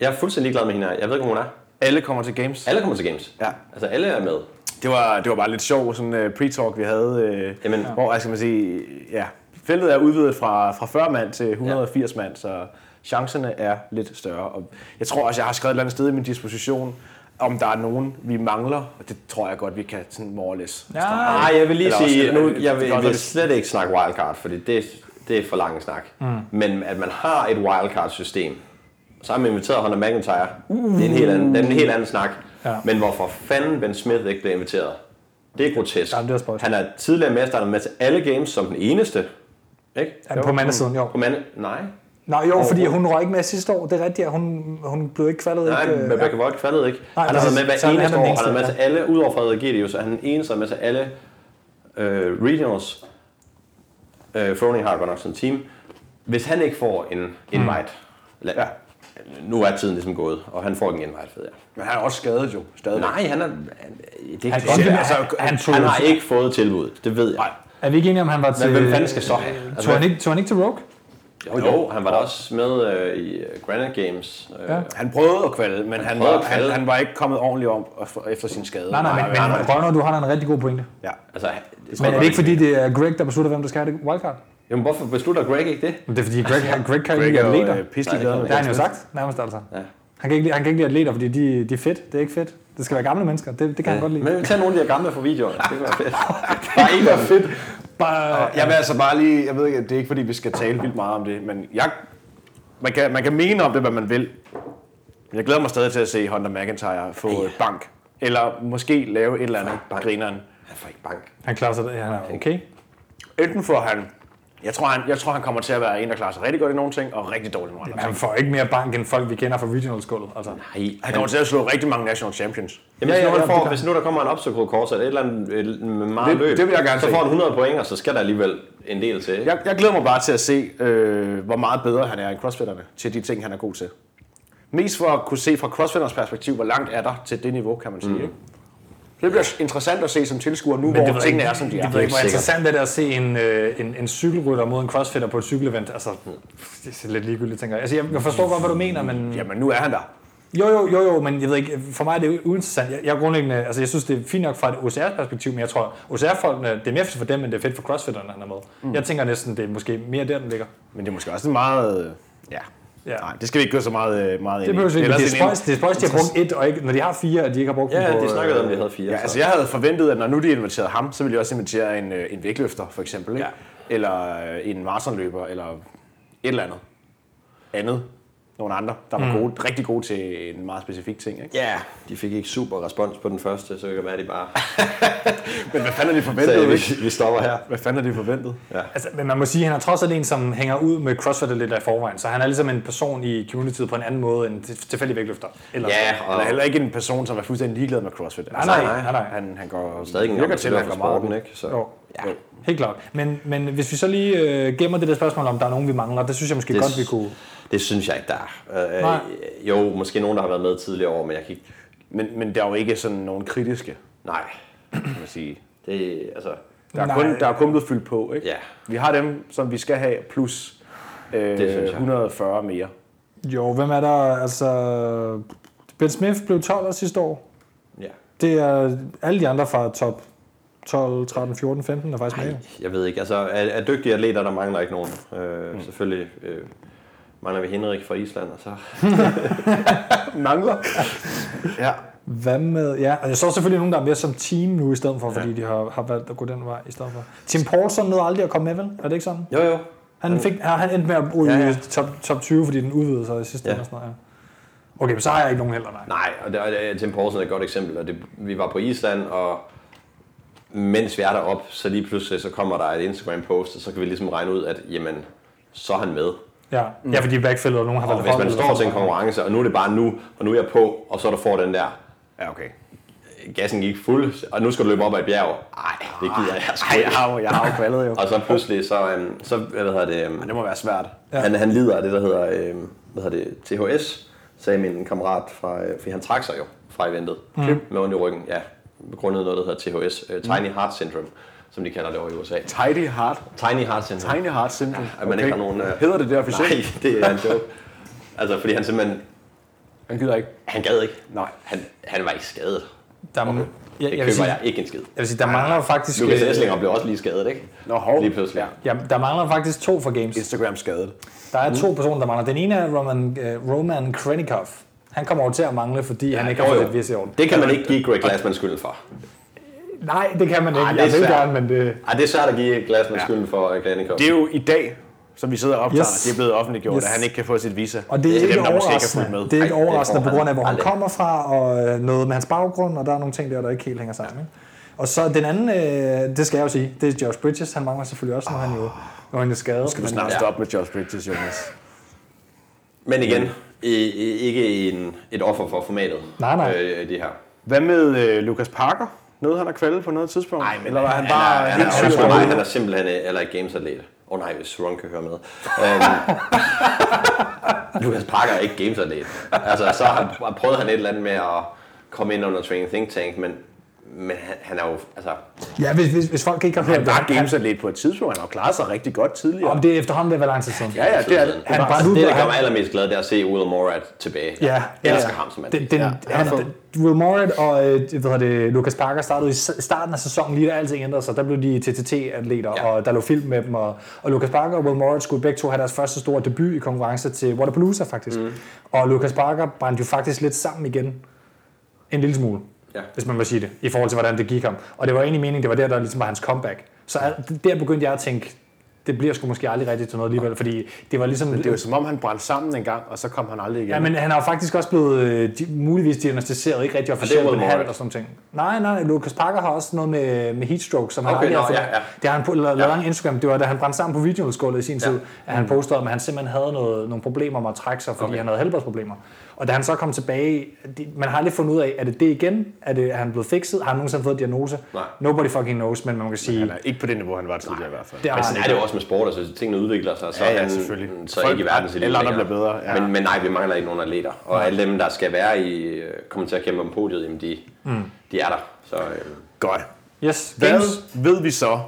jeg er fuldstændig ligeglad med hende her. Jeg ved ikke, hvor hun er. Alle kommer til games. Alle kommer til games. Ja. Altså, alle er med. Det var, det var bare lidt sjov sådan uh, pre-talk, vi havde, uh, Jamen. Jamen. hvor, hvad skal man sige, ja, feltet er udvidet fra, fra 40 mand til 180 ja. mand, så chancerne er lidt større. Og jeg tror også, jeg har skrevet et eller andet sted i min disposition, om der er nogen, vi mangler, og det tror jeg godt, vi kan sådan more or less. Ja. starte. Nej, jeg vil lige Eller også- sige, nu, jeg Det vil, kan jeg også vil være slet ikke snakke wildcard, fordi det, det er for lang snak. Mm. Men at man har et wildcard-system, så har man inviteret Honda McIntyre. Det er en helt anden, det er en helt anden snak. Ja. Ja. Men hvorfor fanden Ben Smith ikke blev inviteret? Det er grotesk. Jamen, det er spøjst. han er tidligere mester, han er med til alle games som den eneste. Ikke? Ja, på mandesiden, jo. På mand... Nej. Nej, jo, fordi hun røg ikke med sidste år. Det er rigtigt, at hun, hun blev ikke kvalet. Nej, ikke, øh, men Rebecca Voigt fattede ikke. Nej, Nej, han har været præcis. med Så hver han er eneste den år. Han eneste, har været ja. med til alle, udover Frederik Gideus, og han er den eneste, der er med til alle øh, regionals. Øh, Froning har godt nok sådan en team. Hvis han ikke får en invite, Hmm. mm. ja. nu er tiden ligesom gået, og han får ikke en invite, ved jeg. Men han er også skadet jo, stadigvæk. Nej, han er... Han, det er Han, han, ikke godt. han, det- altså, altså, han, tog, Han har ikke fået tilbud, det ved jeg. Nej. Er vi ikke enige om, han var til... Men hvem fanden skal så have? Altså, tog, han hvem- ikke, tog han ikke til Rogue? Jo, jo han var da også med øh, i øh, Granite Games. Øh, Ja. ja. Han prøvede at kvalde, men han, prøvede var, at kvalde. han, han var ikke kommet ordentligt om efter sin skade. Nej, nej, men, men, men Brønner, du har da en rigtig god pointe. Ja. Altså, jeg tror Men er godt, det ikke fordi, det er Greg, der beslutter, hvem der skal have det wildcard? Jamen, hvorfor beslutter Greg ikke det? Men Det er fordi, Greg, Greg kan ikke Greg lide er jo atleter. øh, pisselig Nej, glad. det med Det har det. han jo sagt, nærmest altså. Ja. Han kan ikke lide, han kan ikke lide atleter, fordi de, de er fedt. Det er ikke fedt. Det skal være gamle mennesker. Det, det kan han godt lide. Men vi tager nogle af de her gamle fra videoerne. Det kunne være fedt. Bare en, der er fedt. Bare, Jeg vil altså bare lige, jeg ved ikke, det er ikke fordi, vi skal tale vildt meget om det, men jeg, man, kan, man kan mene om det, hvad man vil. Men jeg glæder mig stadig til at se Hunter McIntyre få ja. bank. Eller måske lave et eller andet bank. grineren. Han får ikke bank. han klarer sig, han er okay. Enten får han jeg tror, han, jeg tror, han kommer til at være en, der klarer sig rigtig godt i nogle ting, og rigtig dårligt i nogle andre Men ting. han får ikke mere bank, end folk, vi kender fra regional-skullet. Altså. Nej. Han kommer til at slå rigtig mange national champions. Ja, Jamen, hvis, nu ja, han ja, det får, kan- hvis nu der kommer en opsøgret kors, eller et eller andet et, med meget Det- løb, det vil jeg gerne så se. får han 100 point, og så skal der alligevel en del til. ikke? Jeg, jeg glæder mig bare til at se, øh, hvor meget bedre han er end crossfitterne til de ting, han er god til. Mest for at kunne se fra crossfitternes perspektiv, hvor langt er der til det niveau, kan man sige. Mm. Ikke? Det bliver interessant at se som tilskuer nu, Men det hvor ved tingene ikke- er, som de det er. ved ikke, hvor sikkert. interessant det er at se en, øh, en, en cykelrytter mod en crossfitter på et cykelevent. Altså, det er lidt ligegyldigt, tænker jeg. Altså, jeg jeg forstår godt, hvad du mener, men... Jamen, nu er han der. Jo, jo, jo, jo, men jeg ved ikke, for mig er det u- uinteressant. Jeg, jeg, er grundlæggende, altså, jeg synes, det er fint nok fra et OCR-perspektiv, men jeg tror, OCR-folkene, det er mere fedt for dem, end det er fedt for crossfitterne, han er med. Mm. Jeg tænker næsten, det er måske mere der, den ligger. Men det er måske også en meget... øh, Ja. Ja. ja. Nej, det skal vi ikke gå så meget, øh, meget Det, ind i. behøver, det, det, ellers det, er en- spøjs, det er spøjs, de har brugt et, og ikke, når de har fire, og de ikke har brugt dem Ja, på, de snakkede øh, om, at de havde fire. Ja, så. altså jeg havde forventet, at når nu de inviterede ham, så ville de også invitere en, øh, en vægtløfter, for eksempel. Ikke? Ja. Eller øh, en maratonløber, eller et eller andet. Andet. Nogle andre, der var gode, rigtig gode til en meget specifik ting. Ikke? Mm. Ja, de fik ikke super respons på den første, så det kan være, at de bare Men hvad fanden er de sagde, forventet? vi, ikke? vi stopper her. Hvad fanden er de forventet? Altså, men man må sige, at han er trods alt en, som hænger ud med crossfitter lidt af forvejen, så han er ligesom en person i communityet på en anden måde end til- tilfældig vægtløfter. Eller Ja, Han er og heller ikke en person, som er fuldstændig ligeglad med CrossFit. Altså, nej, nej, nej. Han, han går stadig en virker gammel til, at spiller han for går meget sporten, op i- ikke? Så. Jo, Ja. helt klart. Men, men hvis vi så lige øh, gemmer det der spørgsmål om, der er nogen, vi mangler, det synes jeg måske Det- godt, vi kunne... Det synes jeg ikke, der er. Øh, Nej. øh, jo, måske nogen, der har været med tidligere år, men jeg kan ikke... Men, men der er jo ikke sådan nogen kritiske, Nej, kan man sige. det altså... Der er, Nej. kun, der er kun blevet fyldt på, ikke? Ja. Vi har dem, som vi skal have, plus synes øh, jeg. 140 mere. Jo, hvem er der? Altså, Ben Smith blev 12 år sidste år. Ja. Det er alle de andre fra top 12, 13, 14, 15 er faktisk med. Jeg ved ikke, altså er, er dygtige atleter, der mangler ikke nogen. Øh, mm. Selvfølgelig øh, mangler vi Henrik fra Island, og så... Mangler? ja. Hvad med... Ja, og jeg så selvfølgelig nogen, der er med som team nu i stedet for, fordi de har, har valgt at gå den vej i stedet for. Tim Paulson nåede aldrig at komme med, vel? Er det ikke sådan? Jo, jo. Han, fik, han, han endte med at ryge Øh. Ja, ja, ja. ja. Top, top 20, fordi den udvidede sig i sidste Ja. ja. og sådan noget. Ja. Okay, men så har jeg ikke nogen heller, nej. Nej, og det, og det, Tim Poulsen er et godt eksempel. Og det, vi var på Island, og mens vi er deroppe, så lige pludselig så kommer der et Instagram-post, og så kan vi ligesom regne ud, at jamen, så er han med. Ja, mm. ja fordi backfillet og nogen har Og valgt hvis man holdet, står eller til en sådan noget. konkurrence, og nu er det bare nu, og nu er jeg på, og så der får den der, Ja, okay. gassen gik fuld, og nu skal du løbe op ad et bjerg. Nej, det gider jeg sgu Ej, jeg ikke. har jo, jeg har jo kvalet jo. Og så pludselig, så, øhm, så hvad hedder det, øhm, Det må være svært. Ja. Ja. Han, han lider af det, der hedder, øh, hvad hedder det, THS, sagde min kammerat, fra, øh, fordi han trak sig jo fra eventet mm. med ondt i ryggen. Ja, grundet noget, der hedder THS, øh, Tiny Heart Syndrome, som de kalder det over i USA. Tidy heart. Tiny Heart Syndrome. Tiny heart syndrome. at man ikke har nogen, øh, Hedder det det officielt? Nej, det er en joke. Altså, fordi han simpelthen, Han gider ikke. han gad ikke. Nej. Han, han var ikke skadet. Der, okay. Ja, jeg, det jeg, vil køber sige, jeg ikke en skid. jeg vil sige, der mangler jo faktisk... Lukas øh, Esslinger blev også lige skadet, ikke? Nå, hov. Lige pludselig. Ja. Ja, der mangler faktisk to for Games. Instagram skadet. Der er Mm. to personer, der mangler. Den ene er Roman, uh, Roman Krennikov. Han kommer over til at mangle, fordi ja, han ikke har Jo, fået jo. et vis i orden. Det kan man ikke give Greg Glassman skylden for. Nej, det kan man ikke. Ej, Ej, Ah, det jeg er vil svært. gerne, men det... Ej, det er svært at give Glassman Ja. skylden for øh, Glennikov. Det er jo i dag, som vi sidder og optager, Yes. det er blevet offentliggjort, Yes. at han ikke kan få sit visa. Og det er, Til ikke dem, der måske ikke er fulgt overraskende. med. Det er ikke Ej, det overraskende får på han grund af, hvor han aldrig. kommer fra, og øh, noget med hans baggrund, og der er nogle ting der, der ikke helt hænger sammen. Ikke? Og så den anden, øh, det skal jeg jo sige, det er Josh Bridges. Han mangler selvfølgelig også, når han jo når han er skadet. Skal du men- snart Ja. stoppe med Josh Bridges, Jonas? Men igen, i- i- ikke en, et offer for formatet. Nej, nej. Øh, det her. Hvad med øh, Lucas Parker? Nåede han at kvalde på noget tidspunkt? Nej, men Eller var han, han bare er, han, helt er, han, syg? er, mig, han er simpelthen øh, heller ikke gamesatlet. Åh oh, nej, hvis Ron kan høre med. Øhm, Lucas Parker er ikke gamesatlet. Altså, så har, har prøvet han et eller andet med at komme ind under Training Think Tank, men Men han, han er jo, altså, Ja, hvis, hvis, hvis folk ikke har hørt Han det. var gamesatlet på et tidspunkt, han har klaret sig rigtig godt tidligere. Om det er efterhånden, det var lang tid siden. Ja, ja, det er det. Han Det var- brændte ud. det, der Han- gør mig allermest glad, det er at se Will Morad tilbage. Ja, jeg ja, elsker ja. ham som mand. Den, den, Ja, ja, han, han er fed. den, Will Morad og øh, hvad hedder det, Lucas Parker startede i s- starten af sæsonen, lige da alting ændrede sig. Der blev de TTT-atleter, Ja. ja. og der lå film med dem. Og, og Lucas Parker og Will Morad skulle begge to have deres første store debut i konkurrence til Waterpalooza, faktisk. Mm. Og Lucas Parker brændte jo faktisk lidt sammen igen. En lille smule, Ja. hvis man må sige det, i forhold til, hvordan det gik ham. Og det var egentlig meningen, det var der, der ligesom var hans comeback. Så al- der begyndte jeg at tænke, det bliver sgu måske aldrig rigtigt til noget alligevel, fordi det var ligesom... Det er jo som om, han brændte sammen en gang, og så kom han aldrig igen. Ja, men han har jo faktisk også blevet øh, di- muligvis diagnostiseret, ikke rigtig officielt, Will men halvt Morris. og sådan nogle ting. Nej, nej, Lucas Parker har også noget med, med heatstroke, som han Okay, aldrig har nå, fået. ja, ja. Det har han på lavet ja. lang Instagram. Det var, da han brændte sammen på videoudskålet i sin ja. tid, at han postede, om, at han simpelthen havde noget, nogle problemer med at trække sig, fordi Okay. okay. han havde helbredsproblemer. Og da han så kom tilbage, det, man har aldrig fundet ud af, er det det igen? Er, det, er han blevet fikset? Har han nogensinde fået diagnose? Nej. Nobody fucking knows, men man kan sige... Han er ikke på det niveau, han var tidligere i hvert fald. det har Men han sådan er det jo også med sport, altså tingene udvikler sig, så Ja, ja, er han selvfølgelig. så Folk- ikke i verdenseliten alle andre længere. bliver bedre, ja. Men, men nej, vi mangler ikke nogen atleter. Og alle dem, der skal være i, øh, kommer til at kæmpe om podiet, jamen de, mm. de er der. Så øh, Godt. Yes, Hvad Games. ved vi så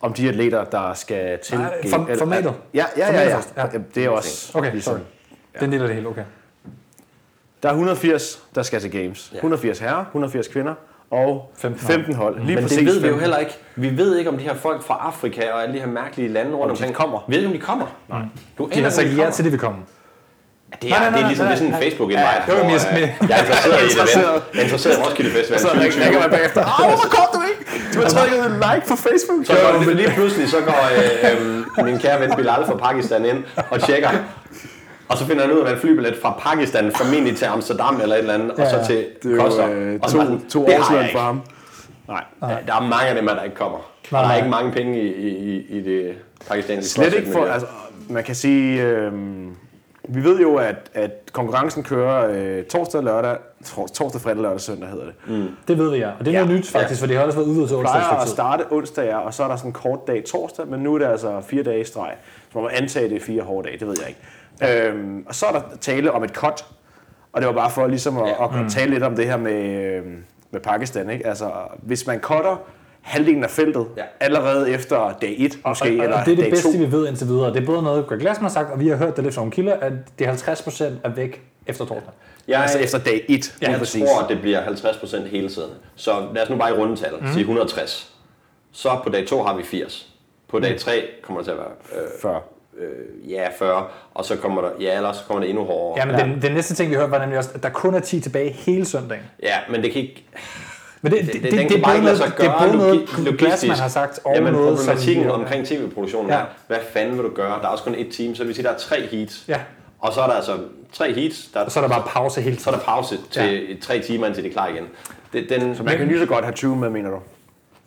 om de atleter, der skal til? Nej, G- form- eller- formatet. Ja, ja, ja. Formatet ja. først, ja. Jamen, Det er også... Okay, ligesom- sorry. Den del af det hele, okay. Der er 180, der skal til Games. 180 herrer, 180 kvinder og 15 15 hold. hold. 15 hold. Lige men præcis det ved vi jo 15. heller ikke. Vi ved ikke, om de her folk fra Afrika og alle de her mærkelige lande rundt de omkring kommer. Vi ved ikke, om de kommer. Nej. Du De har aner, ikke, om sagt de ja kommer. til det, vi kommer. Det er, Nej, nej, det er nej, ligesom nej, det er sådan en nej. Facebook-invite, det var hvor mere øh, sådan- jeg er interesseret i et Interesseret. event. Jeg er interesseret i Roskilde Festival Så der 2020. ikke man bagefter. Au, hvor kom du ikke? Du har trykket like på Facebook. Så går det, lige pludselig så går øh, øh, min kære ven Bilal fra Pakistan ind og tjekker. Og så finder han ud af, at en flybillet fra Pakistan formentlig til Amsterdam eller et eller andet, og Ja, så ja. til Det er jo Koster. øh, og så to, var den, to det har jeg årsløn ikke. for ham. Nej, Ja, Der er mange af dem, her, der ikke kommer. Og Nej, der er nej. ikke mange penge i, i, i- i det pakistanske slet ikke for... crossfit-miljø. Altså, man kan sige... Øh, vi ved jo, at, at konkurrencen kører øh, torsdag, lørdag, tors, torsdag, fredag, lørdag, søndag hedder det. Mm. Det ved vi, ja. Og det er noget Ja. nyt faktisk, for det har også været udvidet til onsdag. et Plejer stykke at tid. starte onsdag, ja, og så er der sådan en kort dag torsdag, men nu er det altså fire dage i streg. Så man må antage, at det er fire hårde dage, det ved jeg ikke. Øhm, og så er der tale om et cut, og det var bare for ligesom at, Ja. at Mm. kunne tale lidt om det her med, øhm, med Pakistan. Ikke? Altså, hvis man cutter halvdelen af feltet Ja. ja. allerede efter dag 1 måske, Og, eller og det er dag det bedste, 2, vi ved indtil videre. Det er både noget, Greg Glassman har sagt, og vi har hørt det lidt fra nogle kilder, at det er 50% er væk efter torsdag. Jeg, altså efter dag 1, jeg tror, det bliver 50% hele tiden. Så lad os nu bare i rundetal Mhm. mm. sige 160. Så på dag 2 har vi 80. På Mhm. dag 3 kommer det til at være øh, Før. øh, ja, 40, og så kommer der, ja, ellers så kommer det endnu hårdere. Jamen, den, den næste ting, vi hørte, var nemlig også, at der kun er 10 tilbage hele søndagen. Ja, men det kan ikke... Men det, det, Det, det, den det, det, kan er både bare ikke lade sig noget, det er gøre både noget logi- Greg logistisk. Glassman har sagt, og Jamen, noget, som problematikken vi- omkring tv-produktionen Ja. er, hvad fanden vil du gøre? Der er også kun et team, så det vil sige, der er tre heats. Ja. Og så er der altså tre heats, der, Så er der bare pause hele så er tiden. der pause til tre timer, indtil det er klar igen. Det, den, Man kan lige så godt have 20 med, mener du?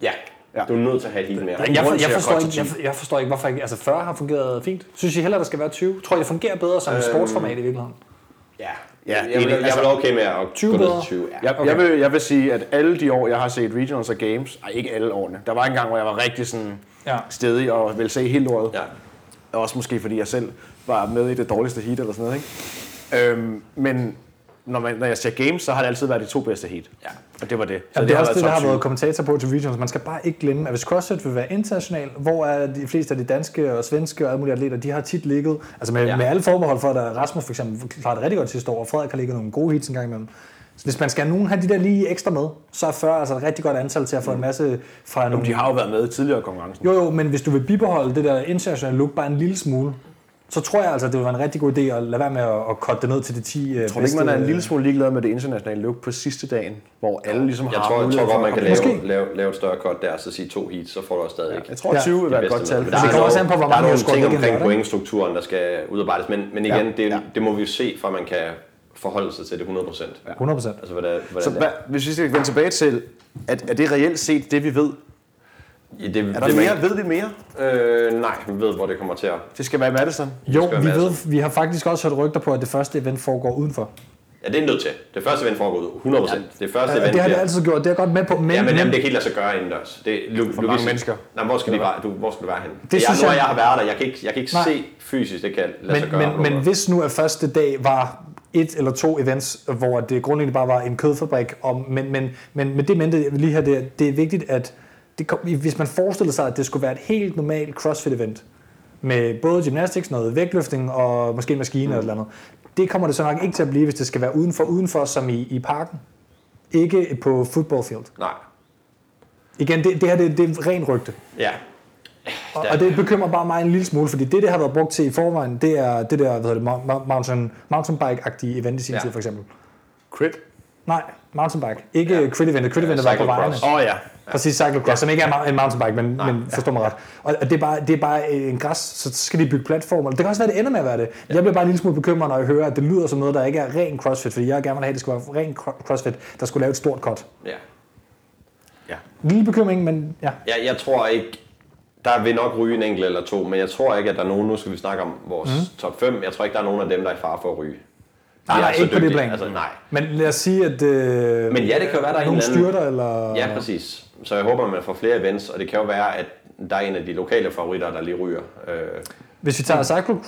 ja, Ja. du er nødt til at have et heat mere. Jeg, grund for, til jeg, at forstår cutte ikke, jeg, for- jeg forstår ikke, hvorfor ikke, altså 40 har fungeret fint. Synes I heller, der skal være 20? Tror I, det fungerer bedre som et sportsformat i virkeligheden? Ja, Ja, jeg, jeg, enig. vil- jeg, Altså, vil okay med at 20 gå ned bedre. til 20. Ja. Jeg, okay. jeg, vil, jeg vil sige, at alle de år, jeg har set regionals og games, ej, ikke alle årene, der var en gang, hvor jeg var rigtig sådan Ja. ja. stedig og ville se hele året. Ja. Også måske, fordi jeg selv var med i det dårligste heat eller sådan noget. Ikke? Øhm, men når, man, når jeg ser games, så har det altid været de to bedste heat. Ja. Og det var det. Så Ja, det, det er også det, der har top været kommentator på til regionals. Man skal bare ikke glemme, at hvis CrossFit vil være international, hvor er de fleste af de danske og svenske og alle mulige atleter, de har tit ligget, altså med, Ja. ja. med alle forbehold for, at der- Rasmus for eksempel klarede det rigtig godt sidste år, og Frederik har ligget nogle gode hits engang imellem. Så hvis man skal have nogen have de der lige ekstra med, så er 40 altså et rigtig godt antal til at få en masse fra tyve. nogle... De har jo været med i tidligere konkurrencen. Jo jo, men hvis du vil bibeholde det der internationale look bare en lille smule, så tror jeg altså, at det vil være en rigtig god idé at lade være med at, at cutte det ned til de øh, 10 Tror du ikke, man er en lille smule ligeglad med det internationale look på sidste dagen, hvor alle ligesom Jeg har tror, jeg tror mulighed for godt, man at kan komme- Måske. lave, lave, lave et større cut der, og så sige to heats, så får du også stadig Jeg tror, Ja. 20 vil de være et bedste godt tal. med. Men der Det er kommer nogle- også an på, hvor der er mange nogle vi har ting scoret omkring igennem, ikke? pointstrukturen, der skal udarbejdes. Men, men igen, det, ja. det må vi jo se, før man kan forholde sig til det 100%. Ja. 100 procent. Altså, hvordan, hvordan Så hvad, det hvis vi skal vende tilbage til, at, er det reelt set det, vi ved? er. I det, Er der det, mere? Ved vi mere? mere? Øh, nej, vi ved, hvor det kommer til at... Det skal være i Madison. Jo, skal vi, være ved, vi har faktisk også hørt rygter på, at det første event foregår udenfor. Ja, det er nødt til. Det første event foregår ud, 100%. Det første Ja, event det har det bliver- altid gjort, det er jeg godt med på, men, Ja, men jamen, det kan ikke lade sig gøre indendørs. Det, lo- For mange mennesker. Nej, hvor skal, de være, du, hvor skal du være henne? Det jeg, synes nu har jeg- jeg har været der. Jeg kan ikke, jeg kan ikke Nej. se fysisk, det kan lade sig men, gøre. men, men hvis nu at første dag var et eller to events, hvor det grundlæggende bare var en kødfabrik. Og, men, men, men med det mente jeg lige her, det, er- det er vigtigt, at det kom, hvis man forestillede sig, at det skulle være et helt normalt CrossFit-event, med både gymnastics, noget vægtløftning og måske en maskine mm. eller et eller andet, det kommer det så nok ikke til at blive, hvis det skal være udenfor, udenfor som i, i parken. Ikke på football field. Nej. Igen, det, det her det, det er ren rygte. Ja. Og, Der- og det bekymrer bare mig en lille smule, fordi det, det har været brugt til i forvejen, det er det der hvad hedder det, mou- mou- mountain, mountainbike-agtige event i sin ja. Ja. tid, for eksempel. Crit? Nej, mountainbike. Ikke ja. Ja. crit-eventet. Crit-eventet var på vejene. Cyclocross. Åh oh, ja. Præcis, cyclocross, ja. som ikke er ma- en mountainbike, men, Nej, men forstår mig ret. Og og det er, bare, det er bare øh, en græs, så skal de bygge platformer. Det kan også være, det ender med at være det. Jeg bliver bare en lille smule bekymret, når jeg hører, at det lyder som noget, der ikke er ren crossfit, fordi jeg gerne vil have, at det skulle være ren cro- crossfit, der skulle lave et stort cut. ja. Ja. En lille bekymring, men ja. Jeg, jeg tror ikke, der vil nok ryge en enkelt eller to, men jeg tror ikke, at der er nogen, nu skal vi snakke om vores mm. top 5, jeg tror ikke, der er nogen af dem, der er i fare for at ryge. Mhm. Nej, er nej, så ikke på det dygtige. plan. Altså, nej. Men lad os sige, at øh, Men ja, det kan jo være, der er nogen en eller anden... styrter, eller... Ja, præcis. Så jeg håber, man får flere events, og det kan jo være, at der er en af de lokale favoritter, der lige ryger. Øh, Hvis vi tager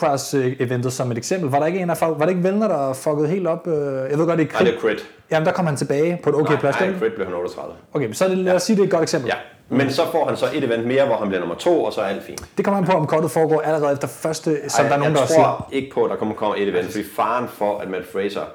cyclocross-eventet som et eksempel, var der ikke en af folk, var det ikke Vellner, der fuckede helt op? øh, Jeg ved godt, det er nej, krig. det er Crit. Jamen, der kom han tilbage på et okay nej, plads. nej, ikke? Crit blev han 38. Okay, så er det, lad os sige, det er et godt eksempel. Ja, men så får han så et event mere, hvor han bliver nummer to, og så er alt fint. Det kommer an på, om kortet foregår allerede efter første, som Ej, der er nogen, jeg der tror siger. ikke på, at der kommer komme et event, fordi faren for, at Matt Fraser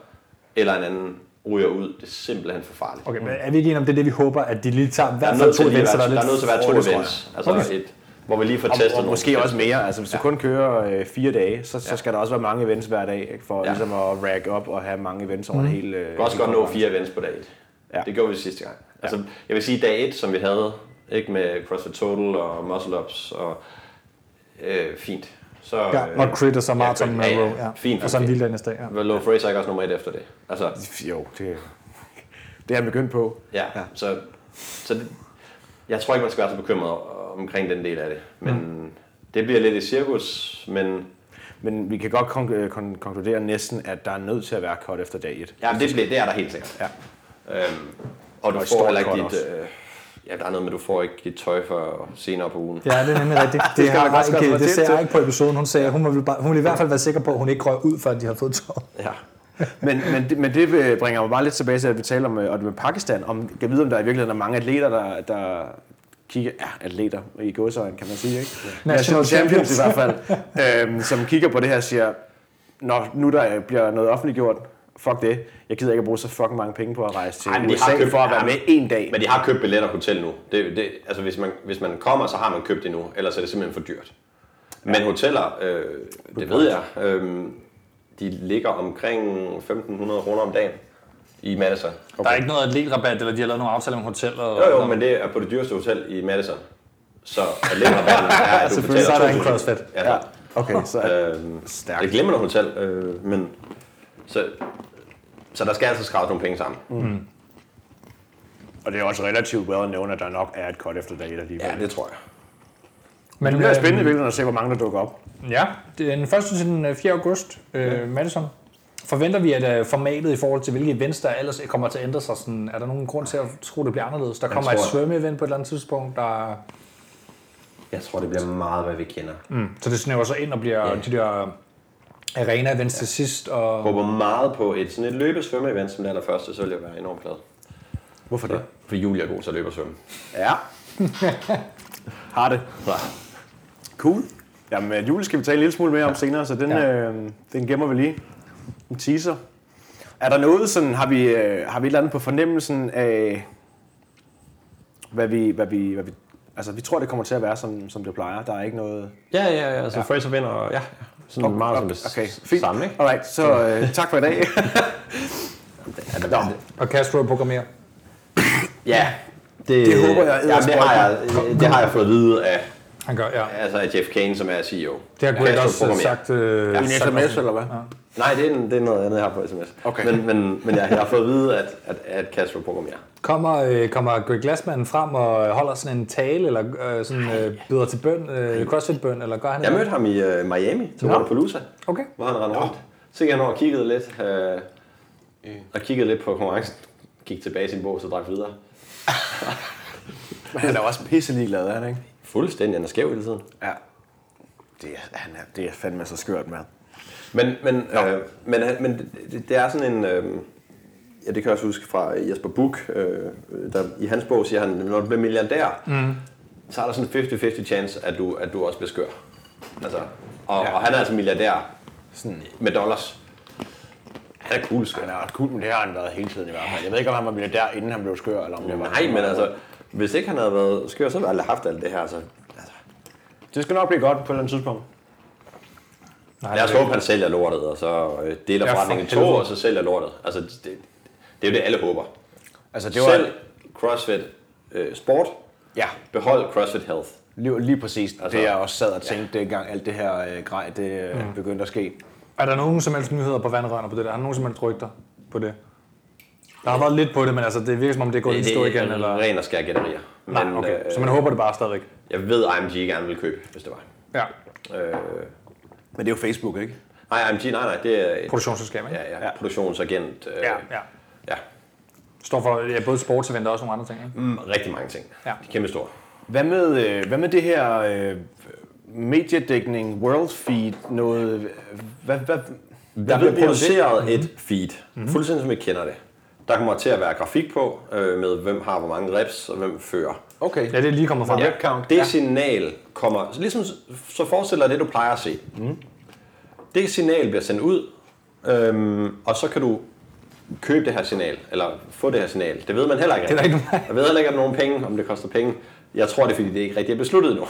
eller en anden ryger ud, det er simpelthen for farligt. Okay, men er vi ikke enige om, det er det, vi håber, at de lige tager i Der er hvert fald nødt to til, lige at events, være, så der der er lidt er nødt til at være to forholds- events, altså Okay. et, hvor vi lige får testet Og, og nogle måske ting. også mere. Altså, hvis du kun kører øh, fire dage, så, så skal der også være mange events hver dag, ikke? for Ja. ja. ligesom at rack op og have mange events over mm. det hele. Øh, Vi kan også godt nå fire events på dag et. Ja. Det gjorde vi sidste gang. Altså, jeg vil sige, dag et, som vi havde, ikke med CrossFit Total og Muscle Ups, og øh, fint. Så, Ja, øh, og Crit og så Martin ja, ja, ja, ja. Melrose. Ja. Fint, Og så en okay. lille dag næste dag. Ja. Vel, lå Fraser ikke også nummer et efter det. Altså, Jo, det, det er han begyndt på. ja, ja. så, så det, jeg tror ikke, man skal være så bekymret omkring den del af det. Men mm. det bliver lidt et cirkus, men Men vi kan godt kon- øh, kon- konkludere næsten, at der er nødt til at være cut efter dag 1. ja, det, bliver, det er der helt sikkert. Ja. Øhm, og du Og et får stort heller ikke cut dit... Øh, ja, der er noget med, du får ikke dit tøj for senere på ugen. Ja, det er nemlig rigtigt. Det, det, skal man har godt skrive ikke, sig det til ser jeg til. ikke på episoden. Hun sagde, hun ville, bare, hun ville i hvert fald være sikker på, at hun ikke røg ud, før de havde fået tøjet. Ja. Men, men, det, men det øh, bringer mig bare lidt tilbage til, at vi taler om, øh, og det med Pakistan. Om, kan vide, om der i virkeligheden er mange atleter, der, der kigger... Ja, atleter i godsøjen, kan man sige, ikke? Ja. National champions i hvert fald. øhm, som kigger på det her og siger, Nå, nu der øh, bliver noget offentliggjort, fuck det. Jeg gider ikke at bruge så fucking mange penge på at rejse til Ej, men de har USA købt- for at være ja, med en dag. Men de har købt billet og hotel nu. Det, det, altså hvis man, hvis man kommer, så har man købt det nu, ellers er det simpelthen for dyrt. Men hoteller, øh, det ved jeg, øh, de ligger omkring 1.500 kroner om dagen i Madison. Okay. Der er ikke noget atletrabat, eller de har lavet nogle aftaler med hoteller. og- Jo, jo, men det er på det dyreste hotel i Madison. Så alene er, at du Selvfølgelig, betaler så er der en 2.000. crossfit. Ja, Okay, så er øh, Stærkt. det glemmer hotel, øh, men så, så der skal altså skrabes nogle penge sammen. Og det er også relativt well known, at der nok er et cut efter dag 1 alligevel. Ja, det tror jeg. Men, øh, det bliver spændende i virkeligheden at se, hvor mange der dukker op. Ja, den 1. til den øh, 4. august, øh, ja. Madison. Forventer vi, at øh, formatet i forhold til, hvilke events der ellers kommer til at ændre sig, sådan, er der nogen grund til at tro, det bliver anderledes? Der kommer et tror jeg. svømme-event på et eller andet tidspunkt, der... Jeg tror, det bliver meget, hvad vi kender. Mm. Så det snæver sig ind og bliver Ja. de der øh, arena-events til sidst, og... håber meget på et sådan et løbesvømme-event som det allerførste, så vil jeg være enormt glad. Hvorfor det? For Julie er god til at løbe og svømme. Ja. Har det. Cool. Jamen, øh, jule skal vi tale en lille smule mere om senere, så den, Ja. ja. øh, den gemmer vi lige. En teaser. Er der noget, sådan, har, vi, øh, har vi et eller andet på fornemmelsen af, hvad vi, hvad vi, hvad vi Altså, vi tror, det kommer til at være, som, som det plejer. Der er ikke noget... Ja, ja, ja. Så ja. Fraser vinder, og ja. Sådan okay. meget som det Okay, fint. fint. samme, ikke? Alright, så øh, tak for i dag. Nå, Og Castro programmerer. ja. Det, Det håber jeg, Jamen, det, har jeg det har jeg fået at vide af, Han gør, ja. altså af Jeff Kane, som er E CEO. Det har Greg Castro også øh, programmerer. sagt... Øh, en sagt sms, også. eller hvad? Nej, det er, en- det er noget andet, jeg har på sms. Okay. Men, men, men jeg, jeg har fået at vide, at, at, at Castro programmerer. Kommer, øh, kommer Greg Glassman frem og holder sådan en tale, eller øh, sådan øh, byder til bøn, øh, crossfit-bøn, eller gør han Jeg det? mødte ham i øh, Miami til Nå. Rodapalooza, Okay. hvor han rendte rundt. Så gik han over og kiggede lidt, øh, og kiggede lidt på konkurrencen. Gik tilbage i sin bås og drak videre. Men han er også pisselig glad, er han ikke? Fuldstændig, han er skæv hele tiden. Ja. Det er, han er, det er fandme så skørt, mand. Men, men, øh, men, han- men det- det, det er sådan en... Øh, ja, det kan jeg også huske fra Jesper Buch. Øh, der, I hans bog siger han, når du bliver milliardær, mm. så er der sådan en 50-50 chance, at du, at du også bliver skør. Altså, og, ja. og han er altså milliardær sådan, med dollars. Han er cool skør. Han er ret cool, men det har han været hele tiden i hvert fald. Jeg ved ikke, om han var milliardær, inden han blev skør, eller om det var... Nej, men altså, hvis ikke han havde været skør, så ville han aldrig haft alt det her. Så, altså, Det skal nok blive godt på et eller andet tidspunkt. Nej, lad os det er håbe, han sælger lortet, og så øh, deler Ja, for forretningen i to, helvede. og så sælger lortet. Altså, det, det er jo det, alle håber. Altså, det Det var... var... Selv CrossFit øh, Sport, Ja, behold CrossFit Health. lige, lige præcis. Altså, Altså- det jeg også sad og tænkte, ja. dengang alt det her øh, grej, det øh, begyndte at ske. Er der nogen som helst nyheder på vandrørene på det der? Er der nogen som helst rygter på det? Der har været lidt på det, men altså, det virker som om det går lidt i stå igen. Eller... ren og skær gætterier. Men Nej, okay. øh, Så man håber det bare stadigvæk. jeg ved, IMG gerne vil købe, hvis det var. Ja, Øh, Men det er jo Facebook, ikke? nej, IMG, nej, nej, det er et produktionsselskab, ikke? ja, ja, produktionsagent. Øh, Ja. ja. ja. Står for ja, både sportsevent og også nogle andre ting, ikke? Mm, rigtig mange ting. Ja. De er kæmpe store. Hvad med, øh, hvad med det her øh, mediedækning, world feed, noget... øh, Hvad, hvad, Der hvad ved blev vi om det? produceret et feed, mm-hmm. fuldstændig som vi kender det. Der kommer til at være grafik på, øh, med hvem har hvor mange reps, og hvem fører. Okay. Ja, det er lige kommet frem. Ja. Rep count, Det signal kommer, ligesom så forestiller dig det, du plejer at se. Mm. Det signal bliver sendt ud, øhm, og så kan du købe det her signal, eller få det her signal. Det ved man heller ikke. Det er der rigtig. ikke nogen- Jeg ved heller ikke, om nogen penge, om det koster penge. Jeg tror det, er, fordi det ikke rigtig er besluttet endnu.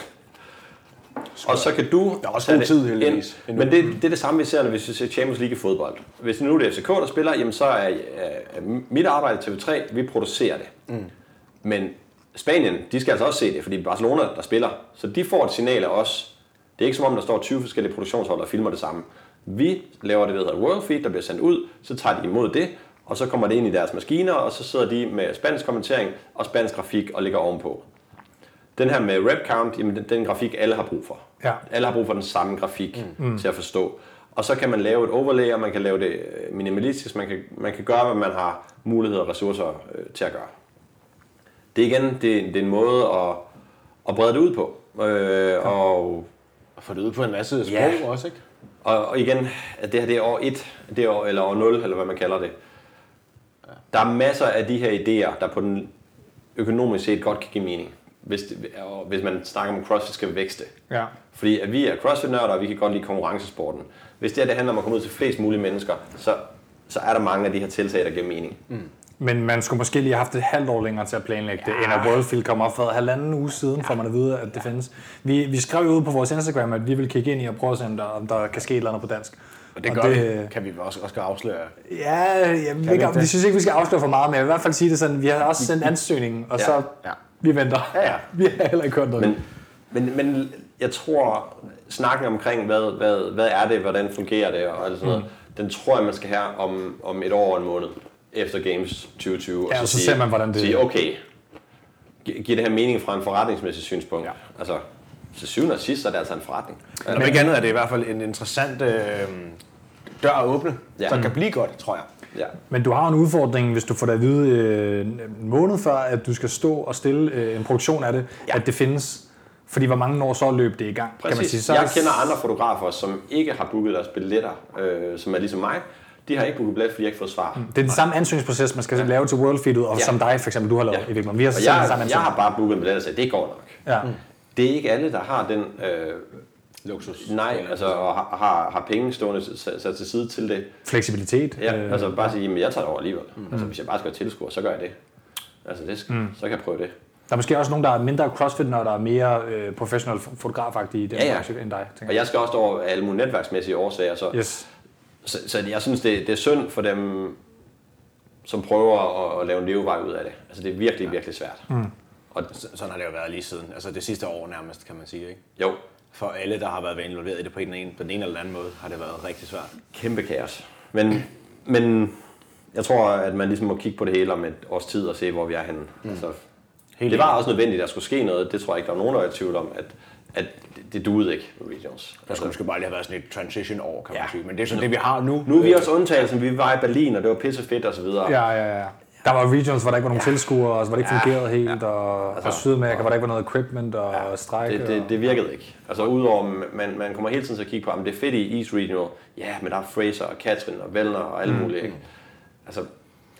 Og så kan du... Der er også god tid, heldigvis, endnu. Men det, det er det samme, vi ser, når vi ser Champions League i fodbold. Hvis nu er det er FCK, der spiller, jamen så er, er- er mit arbejde i TV3, vi producerer det. Men Spanien, de skal altså også se det, fordi det er Barcelona, der spiller. Så de får et signal af os. Det er ikke som om, der står 20 forskellige produktionshold, der filmer det samme. Vi laver det, der hedder World Feed, der bliver sendt ud, så tager de imod det, og så kommer det ind i deres maskiner, og så sidder de med spansk kommentering og spansk grafik og ligger ovenpå. Den her med rep count, jamen den, den grafik, alle har brug for. Ja. Alle har brug for den samme grafik mm. til at forstå. Og så kan man lave et overlay, og man kan lave det øh, minimalistisk. Man kan, man kan gøre, hvad man har muligheder og ressourcer øh, til at gøre det er igen, det, er- det er en måde at, at brede det ud på. Øh, og, Og få det ud på en masse sprog Ja. også, ikke? og, og igen, at det her det er år 1, det er år, eller år 0, eller hvad man kalder det. Der er masser af de her idéer, der på den økonomisk set godt kan give mening. Hvis, det, og hvis man snakker om, at CrossFit skal vækste. Ja. Fordi at vi er CrossFit-nørder, og vi kan godt lide konkurrencesporten. Hvis det her det handler om at komme ud til flest mulige mennesker, så, så er der mange af de her tiltag, der giver mening. Men man skulle måske lige have haft et halvt år længere til at planlægge det, end at Worldfield kom op for halvanden uge siden, for man at vide, at det findes. Vi, vi skrev jo ud på vores Instagram, at vi vil kigge ind i og prøve at se, om der, om der kan ske et eller andet på dansk. Og det gør det... vi, kan vi også, også afsløre. Ja, jeg ved ikke, ikke om- det? vi synes ikke, vi skal afsløre for meget, men jeg vil i hvert fald sige det sådan, vi har også sendt ansøgningen, og Ja, så ja. vi venter. Ja, ja. Vi har heller ikke hørt noget. Men, men, men jeg tror, snakken omkring, hvad, hvad, hvad er det, hvordan fungerer det og alt sådan noget, Mm. den tror jeg, man skal have om, om et år og en måned efter Games 2020. Ja, og så ser man, hvordan det- Sige, okay, gi- giver det her mening fra en forretningsmæssig synspunkt? Ja. Altså, til syvende og sidst, så er det altså en forretning. Men om ikke andet er det i hvert fald en interessant øh, dør at åbne, ja. Ja. som kan blive godt, tror jeg. Ja. Men du har en udfordring, hvis du får det at vide øh, en måned før, at du skal stå og stille øh, en produktion af det, ja. at det findes. Fordi hvor mange år så løb det i gang, kan man sige. Præcis. Så Jeg kender andre fotografer, som ikke har booket deres billetter, øh, som er ligesom mig. De har ikke booket billet, fordi jeg ikke har fået svar. Mm. Det er den samme ansøgningsproces, man skal ja. lave til Worldfeed ud, og ja. Ja. som dig for eksempel, du har lavet ja. i virkeligheden. Vi har Og sendt den samme jeg, jeg ansøgning. har bare booket en billet og sagt, det går nok. Ja. Mm. Det er ikke alle, der har den øh, Luksus. Nej, altså og har, har, har penge stående sat, sat til side til det. Fleksibilitet. Ja, øh, altså bare sige, at jeg tager det over alligevel. Mm. Altså hvis jeg bare skal være tilskuer, så gør jeg det. Altså det skal, mm. så kan jeg prøve det. Der er måske også nogen, der er mindre crossfit, når der er mere øh, professional fotografagtige i den Ja, ja. branche end dig. Tænker. Og jeg skal også over alle mulige netværksmæssige årsager, så, jeg. Yes. så, så jeg synes, det, det er synd for dem, som prøver at, at lave en levevej ud af det. Altså det er virkelig, virkelig svært. Mm. Og så- altså, sådan har det jo været lige siden. Altså det sidste år nærmest, kan man sige, ikke? Jo, For alle, der har været involveret i det på den ene, på den ene eller anden måde, har det været rigtig svært. kæmpe kaos. Men, men jeg tror, at man ligesom må kigge på det hele om et års tid og se, hvor vi er henne. Mm. Altså, Helt det var også nødvendigt, at der skulle ske noget. Det tror jeg ikke, der var nogen, der var i tvivl om, at, at det, det duede ikke med regions. Der skulle måske bare lige have været sådan et transition år, kan man sige. Men det er sådan det, vi har nu. Nu er vi også undtagelsen. Vi var i Berlin, og det var pisse fedt og så videre. Ja, ja, ja. Der var regions, hvor der ikke var nogen ja. tilskuere, og hvor det ikke fungerede helt, og, altså, og Sydamerika, hvor der ikke var noget equipment og ja. strejke. Det, det, det virkede ikke. Altså udover, man, man kommer hele tiden til at kigge på, om det er fedt i East Regional. Ja, men der er Fraser og Katrin og Vellner og alle mulige. Ikke? Altså,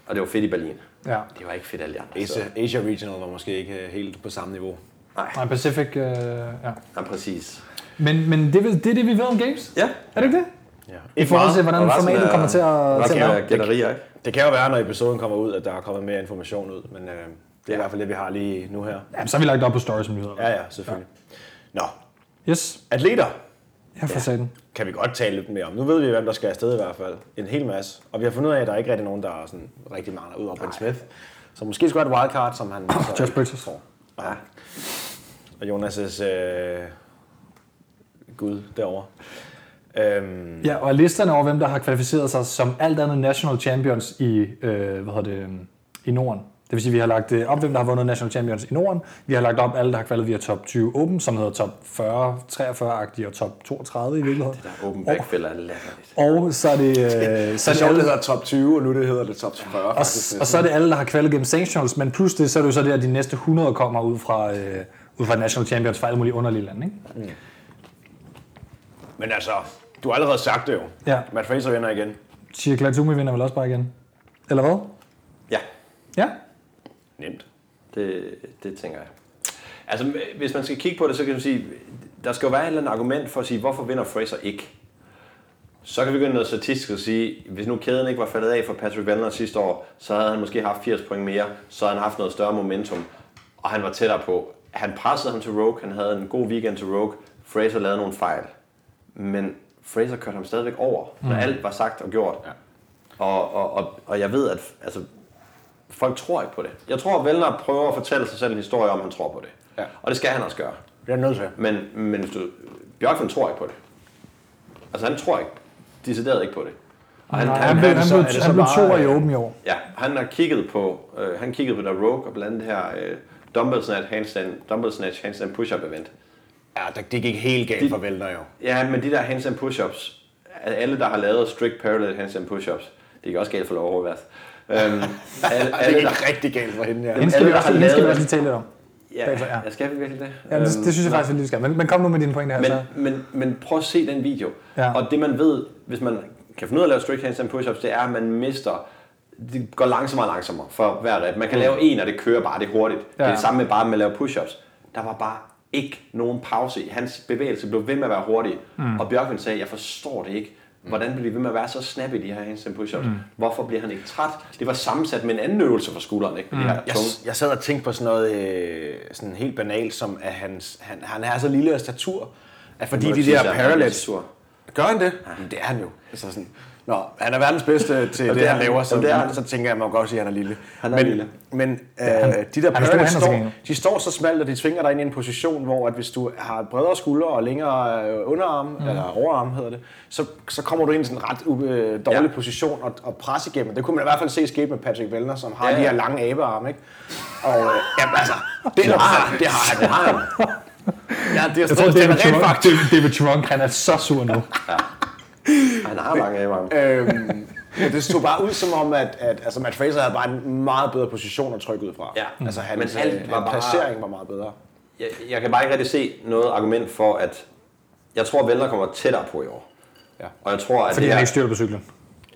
og det var fedt i Berlin. Og, ja. Det var ikke fedt alle de andre. Asia, steder. Asia Regional var måske ikke øh, helt på samme niveau. Nej, Pacific, øh, ja. Ja, præcis. Men, men det, er vel- det er det, vi ved om games. Ja, Er det ikke det? Ja. I forhold til, hvordan Og resten formatet er- kommer til at, til nok at være. er gætterier, ikke? Det kan jo være, når episoden kommer ud, at der er kommet mere information ud, men øh, det er i hvert fald det, vi har lige nu her. Jamen, så har vi lagt det op på stories som nyheder. Ja, ja, selvfølgelig. Nå, Yes, atleter jeg får ja. den. kan vi godt tale lidt mere om. Nu ved vi, hvem der skal afsted i hvert fald. En hel masse. Og vi har fundet ud af, at der ikke rigtig er nogen, der er sådan rigtig mangler ud over Ben Smith. Så måske skulle have et wildcard, som han... så- Josh Bridges. Ja. Og Jonas' øh, gud derovre. Øhm, Ja, og listerne over, hvem der har kvalificeret sig som alt andet national champions i, øh, hvad hedder det, øhm, i Norden. Det vil sige, at vi har lagt øh, op, hvem der har vundet national champions i Norden. Vi har lagt op alle, der har kvalet via top 20 Open, som hedder top 40, 43-agtige og top 32 i virkeligheden. Åben backfill er latterligt. Og så er Ah, det, øh, så er det alle, hedder top 20, og nu det hedder det top 40. og, s- og så er det alle, der har kvalet gennem sanctionals, men plus det, så er det jo så det, at de næste 100 kommer ud fra, øh, ud fra national champions fra alle mulige underlige lande, ikke? Men altså, du har allerede sagt det jo. Ja. Matt Fraser vinder igen. Chia Klatsumi vinder vel også bare igen. Eller hvad? Ja, Ja. Nemt. det, det tænker jeg. Altså, hvis man skal kigge på det, så kan du sige, der skal jo være et eller andet argument for at sige, hvorfor vinder Fraser ikke? Så kan vi begynde noget statistisk og sige, hvis nu kæden ikke var faldet af for Patrick Vellner sidste år, så havde han måske haft 80 point mere, så havde han haft noget større momentum, og han var tættere på. Han pressede ham til Rogue, han havde en god weekend til Rogue, Fraser lavede nogle fejl. Men Fraser kørte ham stadigvæk over, når alt var sagt og gjort. Ja. Og, og, og, og jeg ved, at altså, folk tror ikke på det. Jeg tror, at Vellner prøver at fortælle sig selv en historie om, at han tror på det. Ja. Og det skal han også gøre. Det er nødt til. Men, men hvis du, Bjørkman tror ikke på det. Altså han tror ikke, decideret ikke på det. Og han, Nej, han, han, han, blev, er han, så- blev, er det han så blev bare, to i øh, Open i år. ja, han har kigget på, øh, han kiggede på der Rogue og blandt andet det her øh, dumbbell snatch, handstand, dumbbell snatch, handstand push-up event. Ja, det, det gik helt galt for Vælter jo. Ja, men de der handstand push-ups, alle der har lavet strict parallel handstand push-ups, det gik også galt for Laura Horvath. Øhm, alle, Altså, Det alle, gik der, rigtig galt for hende, ja. Hende skal alle, vi der også, har hende skal vi lavet- også lige tale lidt om. ja, bagefter, ja. jeg skal virkelig det. Ja, det, Øhm, det synes jeg faktisk, at vi lige skal. Men, men kom nu med dine pointer her. Men, så. men, men prøv at se den video. Ja. Altså- Ja. Og det man ved, hvis man kan finde ud af at lave strict handstand push-ups, det er, at man mister det går langsommere og langsommere for hver rep. Man kan lave en, og det kører bare, det er hurtigt. Mm. Ja. Det Ja. er det samme med bare med at lave push-ups. Der var bare ikke nogen pause i. Hans bevægelse blev ved med at være hurtig. Mm. Og Bjørkvind sagde, jeg forstår det ikke. Hvordan bliver de ved med at være så snappy, de her handstand push-ups? Mm. Hvorfor bliver han ikke træt? Det var sammensat med en anden øvelse for skulderen, ikke? Med mm. de her Jeg, tunge. jeg sad og tænkte på sådan noget øh, sådan helt banalt, som at hans, han, han er så lille af statur, at fordi må de ikke sige, der at han er parallels... statur. Gør han det? Jamen, det er han jo. Altså sådan, Nå, han er verdens bedste til det, det er han han. laver, så, Jamen, det er han. så tænker jeg, at man kan godt sige, at han er lille. Han er men, lille. Men øh, de der har store parallels hænder til står, gengæld. de står så smalt, og de tvinger dig ind i en position, hvor at hvis du har bredere skuldre og længere øh, underarm, mm. eller overarm hedder det, så, så kommer du ind i sådan en ret øh, dårlig Ja. position og, og pres igennem. Det kunne man i hvert fald se ske med Patrick Vellner, som har Ja, de her ja. lange abearme, ikke? Og øh, jamen, altså, det har han. Det har han. Det har han. Ja, det er jeg tror, stadig David rent Trunk, faktisk. David, David Trunk, han er så sur nu. Han har mange af ham. Øhm, men det stod bare ud som om, at, at altså Matt Fraser havde bare en meget bedre position at trykke ud fra. Ja. Mm. Altså hans, Men Men alt alt var bare- placering var meget bedre. jeg, jeg kan bare ikke rigtig se noget argument for, at jeg tror, at Vellner kommer tættere på i år. Ja. Og jeg tror, at Fordi det han her, ikke styrer på cyklen.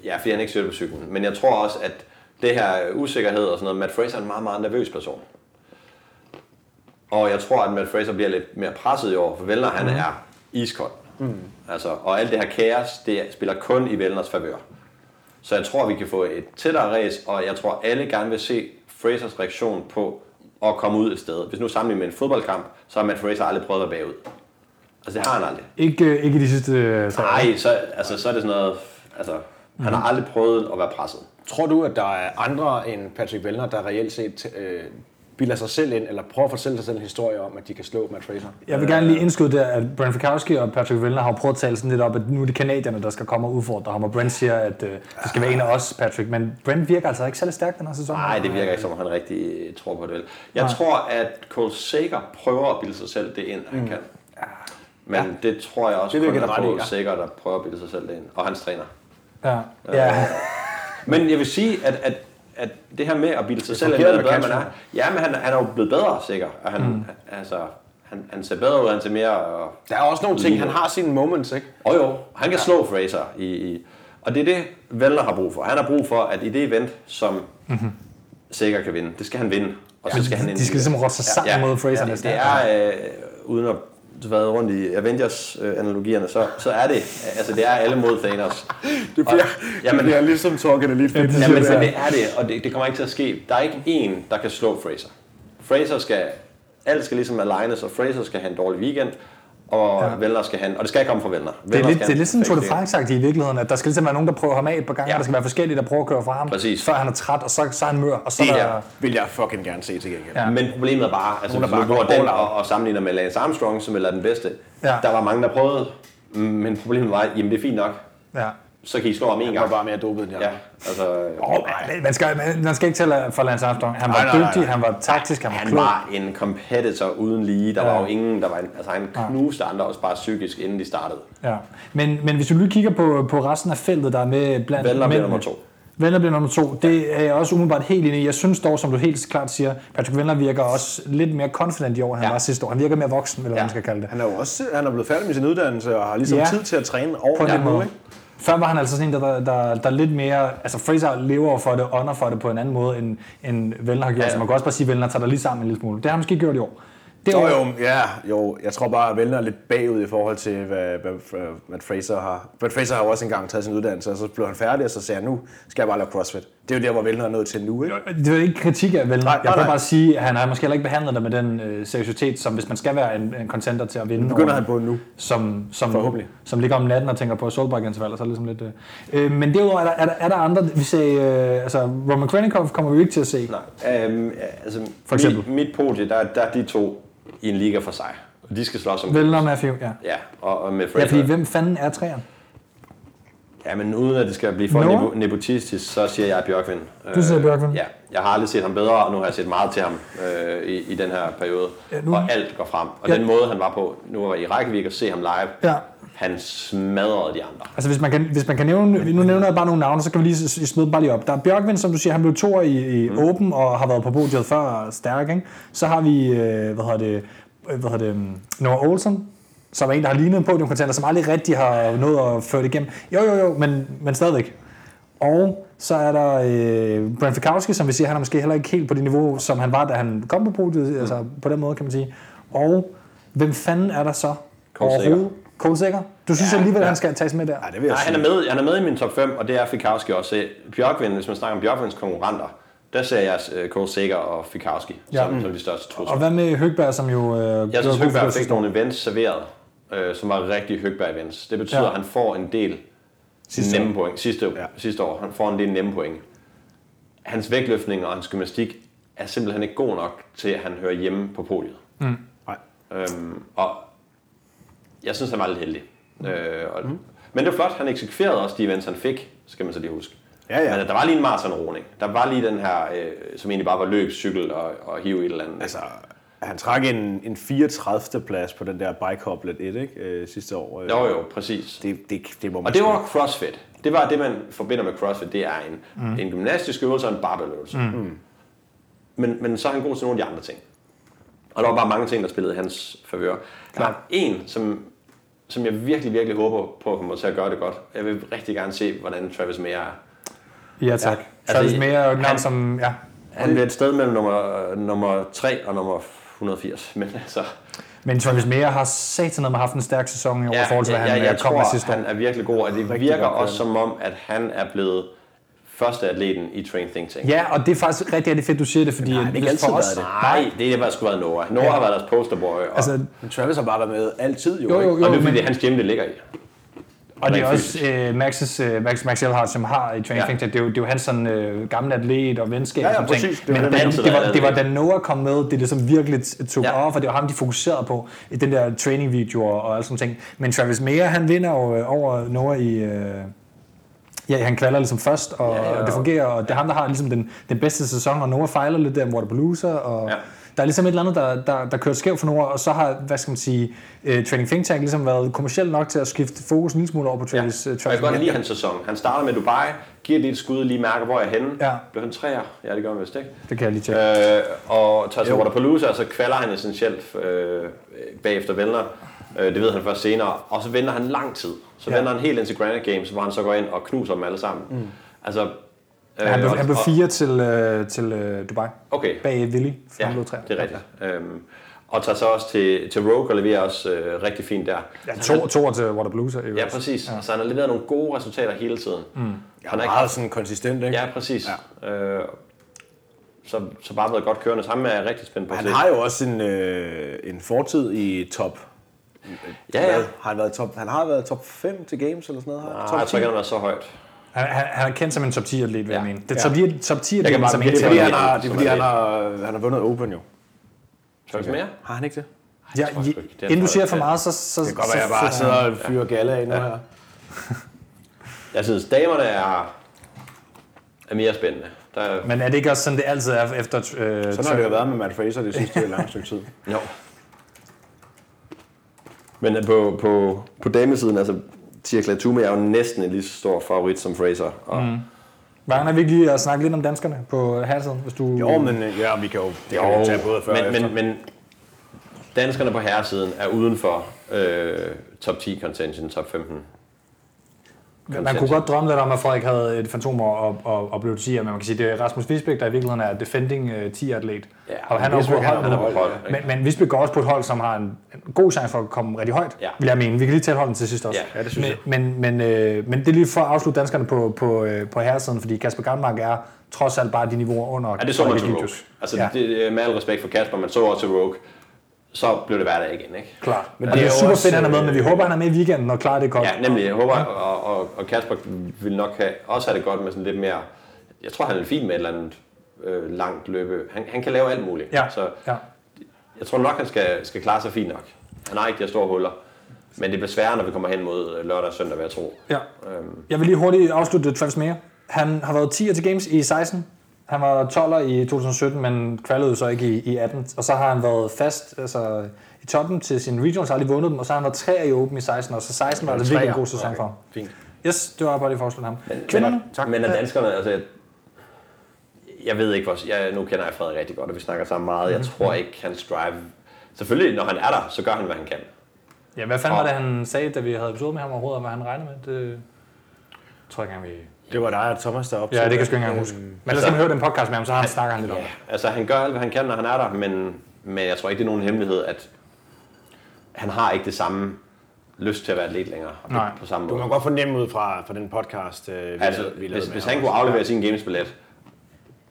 Ja, fordi han ikke styrte på cyklen. Men jeg tror også, at det her usikkerhed og sådan noget, Matt Fraser er en meget, meget nervøs person. Og jeg tror, at Matt Fraser bliver lidt mere presset i år, for Vellner, han er iskold. Mhm. Mm. Altså, og alt det her kaos, det spiller kun i Vellners favør. Så jeg tror, vi kan få et tættere race, og jeg tror, alle gerne vil se Frasers reaktion på at komme ud et sted. Hvis nu sammenligner med en fodboldkamp, så har Matt Fraser aldrig prøvet at være bagud. Altså, det har han aldrig. Ikke, øh, ikke i de sidste øh, tre år. Nej, så, altså, så er det sådan noget... Altså, han har aldrig prøvet at være presset. Tror du, at der er andre end Patrick Vellner, der reelt set øh, bilder sig selv ind, eller prøver at fortælle sig selv en historie om, at de kan slå Matt Fraser? Jeg vil gerne lige indskyde der, at Brent Fikowski og Patrick Vellner har jo prøvet at tale sådan lidt op, at nu er det kanadierne, der skal komme og udfordre ham, og Brent siger, at øh, det skal være en af os, Patrick. Men Brent virker altså ikke særlig stærk den her sæson. Nej, det virker ikke som om han rigtig øh, tror på det vel. Jeg tror, at Cole Sager prøver at bilde sig selv det ind, han kan. Men det tror jeg også Det vil kun jeg er give dig ret i, Cole ja. Sager, der prøver at bilde sig selv det ind. Og hans træner. Ja. ja. Men jeg vil sige, at, at at det her med at bilde sig Det selv, at man fungerede er bedre, med man er. Ja, men han, han er jo blevet bedre, sikkert. Og han, mm. altså, han, han ser bedre ud, han ser mere... Der er også nogle ting, han har sine moments, ikke? Og jo, han kan slå Fraser. I, i, og det er det, Valner har brug for. Han har brug for, at i det event, som mm-hmm. Sikker kan vinde, det skal han vinde. Og så skal han ind de i skal det. ligesom rotte sig sammen mod Fraser ja, det, næste det er, øh, uden at være rundt i Avengers-analogierne, så, så er det, altså det er alle mod Thanos. Det bliver- det bliver ligesom Torgen Elite Fit. Jamen, men det er det, og det, det kommer ikke til at ske. Der er ikke en, der kan slå Fraser. Fraser skal, alt skal ligesom alignes, og Fraser skal have en dårlig weekend, og ja. Vellner skal have, en- og det skal komme fra Vellner. Det er, lidt, det er lidt sådan Tour de france i virkeligheden, at der skal ligesom være nogen, der prøver ham af et par gange, ja. Ja. der skal være forskellige, der prøver at køre fra ham, Præcis. før han er træt, og så, så er han mør, og så Det er her der... vil jeg fucking gerne se til gengæld. Ja. Ja. Men problemet er bare, altså Nogen, der hvis bare man går går den all og, out. og sammenligner med Lance Armstrong, som vel er den bedste, Ja. ja. der var mange, der prøvede, mm, men problemet var, jamen det er fint nok, Ja. så kan I slå ham en Jeg var gang. bare mere dopet end jeg. Ja, altså, Men Man skal, man- man skal ikke tælle for Lance Armstrong. Han var Nej, nej, nej, dygtig, nej. han var taktisk, han var han klog. var en competitor uden lige. Der var Ja. jo ingen, der var en, altså han knuste andre også bare psykisk, inden de startede. Ja. Men, men hvis du lige kigger på, på resten af feltet, der er med blandt Valder bliver mændene. nummer to. Vendler bliver nummer to. Det er jeg også umiddelbart helt enig i. Jeg synes dog, som du helt klart siger, Patrick Vendler virker også lidt mere confident i år, end han Ja. var sidste år. Han virker mere voksen, eller hvad man skal kalde det. Han er jo også han er blevet færdig med sin uddannelse og har ligesom Ja. tid til at træne på over den nu, måde. ikke? Før var han altså sådan en, der, der, der, der lidt mere... Altså Fraser lever for det, ånder for det på en anden måde, end, end Vellner har gjort. Ja, Ja, ja. ja. Så man kan også bare sige, at Vellner tager dig lige sammen en lille smule. Det har han måske gjort i år. Det Øh. Jo, år- jo, ja, jo, jeg tror bare, at Vellner er lidt bagud i forhold til, hvad, hvad, Fra- hvad Fraser har. Hvad Fraser har jo også engang taget sin uddannelse, og så blev han færdig, og så sagde han, nu skal jeg bare lave CrossFit. Det er jo der, hvor Vellner er nået til nu, ikke? Det er ikke kritik af Vellner. Nej, Jeg nej, prøver nej. bare at sige, at han har måske heller ikke behandlet det med den øh, seriøsitet, som hvis man skal være en, en contender til at vinde. Nu begynder over- han på nu. som, som, Forhåbentlig. som ligger om natten og tænker på Solbakken-valg, og så er det ligesom lidt... Øh. Øh, men derudover er der, er der, er der andre... Vi sagde, øh, altså, Roman Krennikov kommer vi jo ikke til at se. Nej, øhm, ja, altså, For eksempel? Mit, mit podie, der, der er de to i en liga for sig. Og de skal slås om Vellner og Matthew, ja. Ja, og, og med Ja, Fraser. fordi hvem fanden er træeren? Ja, men uden at det skal blive for Noah? nebo- nepotistisk, så siger jeg Bjørkvind. Øh, Du siger Bjørkvind? Ja, jeg har aldrig set ham bedre, og nu har jeg set meget til ham øh, i, i den her periode. Ja, Ja, nu- nu... Og alt går frem. Og Ja. ja. den måde, han var på, nu var jeg i Reykjavik og se ham live, Ja. han smadrede de andre. Altså hvis man kan, hvis man kan nævne, nu nævner jeg bare nogle navne, så kan vi lige s- smide dem bare lige op. Der er Bjørkvind, som du siger, han blev toer i, i mm. Open og har været på podiet før og er stærk. Ikke? Så har vi, øh, hvad hedder det, øh, hvad hedder det um, Noah Olsen, som er en, der har lignet en podiumkontenter, som aldrig rigtig har nået at føre det igennem. Jo, jo, jo, men, men stadigvæk. Og så er der øh, Brent Fikowski, som vi siger, han er måske heller ikke helt på det niveau, som han var, da han kom på podiet, mm. altså på den måde kan man sige. Og hvem fanden er der så? Cole Sager. overhovedet? Cole Sager? Du synes ja, alligevel, ja. han skal tages med der? Nej, det vil jeg Nej, sige. han er, med, han er med i min top 5, og det er Fikowski også. Bjørkvind, hvis man snakker om Bjørkvinds konkurrenter, der ser jeg øh, Kåre Sækker og Fikowski Ja. ja. som, som de største trusler. Og hvad med Høgberg, som jo... Øh, Jeg synes, gjorde Høgberg god fik nogle events serveret, øh, som var rigtig Høgberg-events. Det betyder, Ja. ja. at han får en del Sidste sidste år. nemme point. Sidste, Ja. ja. sidste år. Han får en del nemme point. Hans vægtløftning og hans gymnastik er simpelthen ikke god nok til, at han hører hjemme på podiet. Nej. Øhm, og jeg synes, han var lidt heldig. Øh, og, mm. Men det var flot, han eksekverede også de events, han fik, skal man så lige huske. Ja, ja. Men der var lige en maratonroning. Der var lige den her, øh, som egentlig bare var løb, cykel og, og hive et eller andet. Altså, han trak en, en 34. plads på den der bike hoplet 1, ikke? Øh, sidste år. Øh, jo, jo, præcis. Det, det, det må man Og det var CrossFit. Det var det, man forbinder med CrossFit. Det er en, mm. en gymnastisk øvelse og en barbelløvelse. Mm. Men, men så er han god til nogle af de andre ting. Og der var bare mange ting, der spillede i hans favør. Der er en, som, som jeg virkelig, virkelig håber på kommer til at gøre det godt. Jeg vil rigtig gerne se, hvordan Travis Mayer er. Ja, tak. Ja, altså, Travis Mayer er jo et navn, han- som... Ja. Han bliver et sted mellem nummer, øh, nummer 3 og nummer 180. Men altså, Men Travis Mayer har satan haft en stærk sæson i år, ja, i forhold til, hvad han øh, jeg, jeg kom tror, med sidste år. han øh, er virkelig god, og det virker godt også som om, at han er blevet første atleten i Train Think Tank. Ja, og det er faktisk rigtig, rigtig fedt, du siger det, fordi... Nej, det har hvis ikke altid for os- været det. Nej, det er bare sgu været Nora. Ja. Nora ja. har været deres posterboy, og, Altså, altså, Men Travis har bare været med altid, jo, jo, ikke? jo, og det jo, er fordi, men, det er hans gym, det ligger i. og det er ikke også øh, Max's, øh, Max, Max Elhart, som har i Training Ja. ja. det, er jo, det er jo hans sådan, øh, gamle atlet og venskab. Ja, ja, og sådan ting. præcis. Det var Men det, da, man det, altid var, havde det var, det. da Noah kom med, det ligesom virkelig t- tog ja. Ja. off, og det var ham, de fokuserede på i den der training-video og, og alt sådan ting. Men Travis Mayer, han vinder jo øh, over Noah i... Øh, Ja, han kvalder ligesom først, og, ja, Ja, ja. og det fungerer, og det er ham, der har ligesom den, den bedste sæson, og Noah fejler lidt der, hvor der bluser, og ja. Ja. Der er ligesom et eller andet, der, der, der kører skævt for nogle år, og så har, hvad skal man sige, uh, Training Think Tank ligesom været kommersielt nok til at skifte fokus en lille smule over på Travis. Ja. Og jeg kan godt lide hans sæson. Han starter med Dubai, giver lige et skud, lige mærker, hvor jeg er henne. Ja. Blev han træer? Ja, det gør han vist ikke. det kan jeg lige tjekke. Øh, og tager til Waterpalooza, og så kvalder han essentielt øh, bagefter Vellner. Øh, det ved han først senere. Og så venter han lang tid. Så Ja. ja. venter han helt ind til Granite Games, hvor han så går ind og knuser dem alle sammen. Mm. Altså, øh, han blev, og- han blev og- fire til, øh, til øh, Dubai. Okay. Bag Willy, for Ja, han blev træer. det er rigtigt. Øhm, og tager så også til, til Rogue og leverer også øh, rigtig fint der. Ja, to, to til Water Blues. Ja, præcis. Ja. Så han har leveret nogle gode resultater hele tiden. Mm. Han er ikke Meget sådan konsistent, ikke? Ja, præcis. Ja. Øh, så, så bare været godt kørende. Sammen er jeg rigtig spændt på at Han se. har jo også en, øh, en fortid i top. Ja, ja. Hvad? Har han, været top, han har været top 5 til games eller sådan noget? Har han? Nej, top jeg tror ikke, han er så højt. Han, han, han er kendt som en top 10 atlet, vil jeg Ja. mene. Det er top 10 top 10 atlet, bare som virkelig ikke Det er fordi, tæller. han har, det er, Som fordi er han, det. har, han har vundet Open jo. Tror du ikke mere? Har han ikke det? Ja, tror jeg sgu ikke. Det er inden du for- siger for det- meget, så... så Det kan godt så- være, jeg bare så- sidder og fyrer galla af nu her. Jeg synes, damerne er, er mere spændende. Der er, Men er det ikke også sådan, det altid er efter... Øh, Sådan har det jo været med Matt Fraser det sidste lange stykke tid. jo. Men øh, på, på, på damesiden, altså Tia Klatume er jo næsten en lige så stor favorit som Fraser. Og mm. Vagner, vi ikke lige at snakke lidt om danskerne på herresiden, hvis du... Jo, men øh, ja, vi kan jo, det kan vi jo Jo, tage både før men, og efter. men, men danskerne på herresiden er uden for øh, top 10 contention, top 15. Man kunne godt drømme lidt om, at Frederik havde et fantom og, og, og, og blev 10'er, men man kan sige, det er Rasmus Visbæk, der i virkeligheden er defending øh, 10-atlet. Ja, og han er jo Visbæk, på han er holdet. på hold, hold, ja. men, men Visbæk går også på et hold, som har en, en god chance for at komme rigtig højt, Ja. vil jeg mene. Vi kan lige tale holden til sidst også. Ja, ja, det synes men, jeg. Men, men, øh, men det er lige for at afslutte danskerne på, på, øh, på herresiden, fordi Kasper Garnmark er trods alt bare de niveauer under. Ja, det så man Frederik til Rogue. Vigidius. Altså, Ja. ja. det, med al respekt for Kasper, man så også til Rogue. Så blev det hverdag igen, ikke? Klart. Men Men det, det er, er jo super også, fedt, han er med, men vi øh, håber, han er med i weekenden og klarer det godt. Ja, nemlig. Jeg håber, og, og, og Kasper vil nok have, også have det godt med sådan lidt mere... Jeg tror, han er fin med et eller andet øh, langt løbe. Han, han kan lave alt muligt. Ja, Så ja. jeg tror nok, han skal, skal klare sig fint nok. Han har ikke de her store huller. Men det bliver sværere, når vi kommer hen mod øh, lørdag og søndag, vil jeg tro. ja. Jeg vil lige hurtigt afslutte Travis Mayer. Han har været 10'er til Games i 16. Han var 12'er i 2017, men kvalede så ikke i, i 18. Og så har han været fast altså, i toppen til sin regionals, har aldrig vundet dem, og så har han været 3'er i Open i 16, og så 16 var altså virkelig en god sæson for ham. Fint. Yes, det var bare lige for at afslutte ham. Men, Kvinderne? tak. men af danskerne, altså... Jeg, jeg ved ikke, hvor... Jeg, nu kender jeg Frederik rigtig godt, og vi snakker sammen meget. Jeg tror ikke, hans drive... Selvfølgelig, når han er der, så gør han, hvad han kan. Ja, hvad fanden var det, han sagde, da vi havde episode med ham overhovedet, og hvad han regnede med? Det tror jeg ikke engang, vi... Det var dig og Thomas, der optog. Ja, det kan jeg sgu ikke engang huske. Men ellers altså- kan man høre den podcast med ham, så har han, snakker han lidt om det. Altså, han gør alt, hvad han kan, når han er der, men, men jeg tror ikke, det er nogen hemmelighed, at han har ikke det samme lyst til at være atlet længere. og Nej. På samme Du kan måde. godt fornemme ud fra, fra den podcast, øh, vi, Altså, lavede- vi lavede hvis, med hvis ham han kunne også. aflevere sin gamesbillet,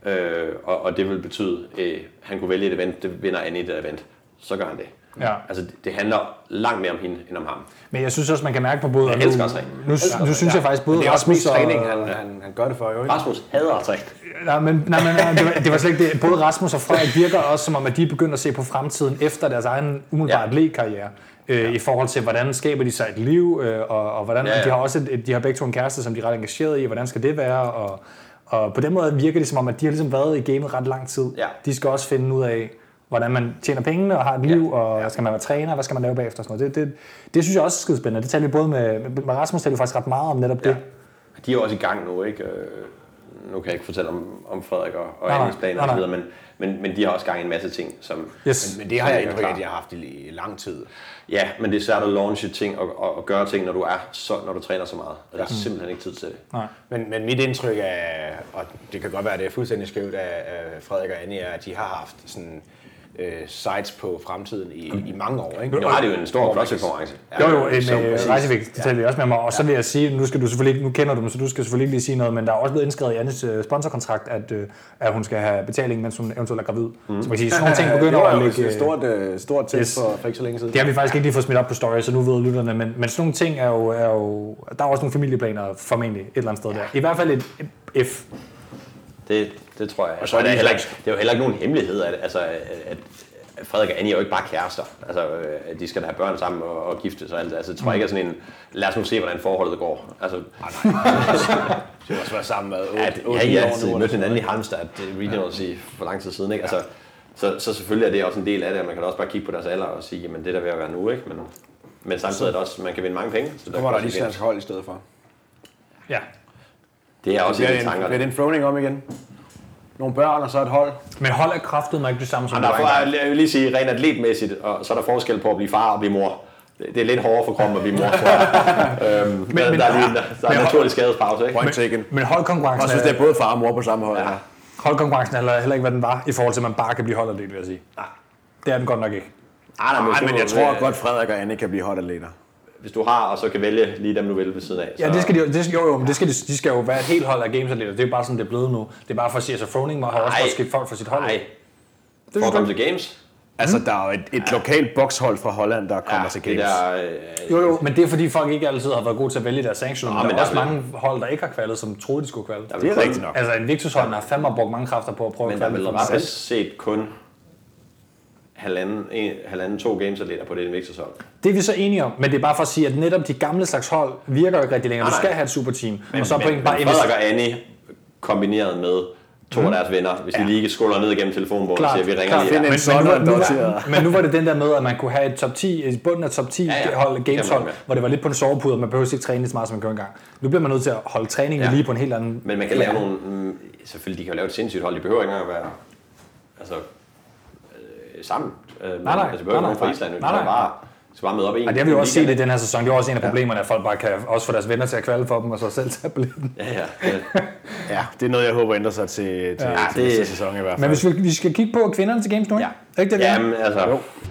øh, og, og det vil betyde, øh, han kunne vælge et event, det vinder Annie et event, så gør han det. Ja. Altså, det, det handler langt mere om hende, end om ham. Men jeg synes også, man kan mærke på både... Jeg og elsker også træning. Nu, nu, nu synes jeg faktisk både Det er også Rasmus mest og... træning, han, han, han gør det for, jo ikke? Rasmus hader altså at træne. Nej, men, nej, men nej, det, var, det var slet ikke det. Både Rasmus og Frederik virker også som om, at de er begyndt at se på fremtiden efter deres egen umiddelbare Ja. atletkarriere. Øh, I forhold til, hvordan skaber de sig et liv, øh, og, og hvordan, ja, Ja, ja. ja. de har også et- et, de har begge to en kæreste, som de er ret engageret i, hvordan skal det være, og, og på den måde virker det som om, at de har ligesom været i gamet ret lang tid. Ja. De skal også finde ud af, hvordan man tjener pengene og har et liv, ja. og skal man være træner, hvad skal man lave bagefter og sådan noget. Det, det, det synes jeg også er skide spændende. Det taler vi både med, med Rasmus, taler vi faktisk ret meget om netop det. Ja. De er jo også i gang nu, ikke? Øh, Nu kan jeg ikke fortælle om, om Frederik og, og Nej, Annies planer nej, og så nej. videre, men, men, men de har også gang i en masse ting, som... Yes. Men det har jeg Ja, indtryk af, klar. at jeg har haft i, i lang tid. Ja, men det er svært at launche ting og, og, og gøre ting, når du er så, når du træner så meget. Og der er Mm. simpelthen ikke tid til det. Nej. Men, men mit indtryk er, og det kan godt være, at det er fuldstændig skævt af, af Frederik og Annie, er, at de har haft sådan øh, sites på fremtiden i, i mange år. Ikke? Nu har det jo en stor Hvor man kan- crossfit-konkurrence. Jo, jo, en så- øh, præcis. rejsevægt, det taler vi også med mig. Og så vil jeg sige, nu, skal du selvfølgelig ikke, nu kender du dem, så du skal selvfølgelig ikke lige sige noget, men der er også blevet indskrevet i Annes øh, sponsorkontrakt, at, øh, at hun skal have betaling, mens hun eventuelt er gravid. Mm. Så man kan sige, sådan nogle ting det begynder var at jo ligge... et stort, øh, stort ting Yes. yes. for, for ikke så længe siden. Det har vi faktisk ikke lige fået smidt op på story, så nu ved lytterne, men, men sådan nogle ting er jo, er jo... Der er også nogle familieplaner formentlig et eller andet sted der. I hvert fald et et F. Det, det tror jeg. Og så så er er det, de- heller ikke, det er jo heller ikke nogen hemmelighed, at, altså, at at Frederik og Annie er jo ikke bare kærester. Altså, øh, at de skal da have børn sammen og, og gifte sig. og alt. Altså, jeg tror ikke, at sådan en, lad os nu se, hvordan forholdet går. Altså, Det har også været sammen med 8, at, ja, ja, altså, de mødte hinanden i Halmstad, det er regionalt at sige, for lang tid siden. Ikke? Altså, Så, så selvfølgelig er det også en del af det, og man kan da også bare kigge på deres alder og sige, jamen det er der ved at være nu, ikke? Men, men samtidig er det også, man kan vinde mange penge. Så Nu var kan der også lige igen- slansk hold i stedet for. Ja. Det er også Bliver en det, af en, tankerne. bliver det en throning om igen? Nogle børn og så et hold. Men hold er kraftet mig ikke det samme som Og derfor drenge. er, jeg vil lige sige, rent atletmæssigt, og så er der forskel på at blive far og blive mor. Det det er lidt hårdere for kroppen at blive mor, tror jeg. øhm, men, der, men- der, er lige, en- der, der er men- en naturlig skadespause, ikke? Point taken. Men Og holdkonkurrencen, synes, det er, er både far og mor på samme hold. Ja. holdkonkurrencen er heller heller ikke, hvad den var, i forhold til, at man bare kan blive holdatlet, vil jeg sige. Nej. Det er den godt nok ikke. Ej, Nej, så men må jeg du- tror godt, Frederik og Anne kan blive hotatleter. Hvis du har, og så kan vælge lige dem, du vil ved siden af. Så. Ja, det skal de jo, det skal, jo, jo, men det skal de, de skal jo være et helt hold af gamesatleter. Det er jo bare sådan, det er blevet nu. Det er bare for at sige, at Froning må have også Nej. godt skilt folk fra sit hold. Nej, det for er at komme jo til games. Altså, der er jo et, et lokalt bokshold fra Holland, der kommer til det games. der, øh, jo, jo, men det er fordi folk ikke altid har været gode til at vælge deres sanction. men men der der er også er vel- mange hold, der ikke har kvalet, som troede, de skulle kvalle. det vil er kun- rigtigt nok. Altså, Invictus holden har fandme brugt mange kræfter på at prøve Men at der er kvalle vel for sig ret selv. set kun halvanden, en, halvanden to gamesatleter på det Invictus hold. Det er vi så enige om, men det er bare for at sige, at netop de gamle slags hold virker jo ikke rigtig længere. Du Nej, skal nej. have et superteam, og så er Men, men pointen bare invest- Frederik og Annie kombineret med to af deres venner, hvis ja. de lige skåler ned igennem telefonbogen og Klart, siger, vi ringer klart. lige. Find en her." Men, men, sådan nu, og en nu, var, doteret. men nu var det den der med, at man kunne have et top 10, et bunden af top 10 ja, ja. ja. hold, Det er games jeg hold, med. hvor det var lidt på en sovepude, og man behøvede ikke træne lige så meget, som man gjorde engang. Nu bliver man nødt til at holde træningen Ja. ja. lige på en helt anden... Men man kan lave nogle... Mm, selvfølgelig, de kan jo lave et sindssygt hold. De behøver ikke engang at være altså, øh, sammen. Øh, nej, nej. Altså, de behøver Nej, ikke nogen fra nej. Island. De Nej, skal nej. bare, de skal bare møde op en. Og det har vi jo også set i ligaen. den her sæson. Det er også en af problemerne, at folk bare kan også få deres venner til at kvalde for dem, og så selv tage billetten. Ja, ja. ja. Ja, det er noget, jeg håber ændrer sig til, til, ja, til det- næste sæson i hvert fald. Men hvis vi, vi skal kigge på kvinderne til games nu, ikke? Ja. Er ikke det, vi er? Jamen, altså, Jo.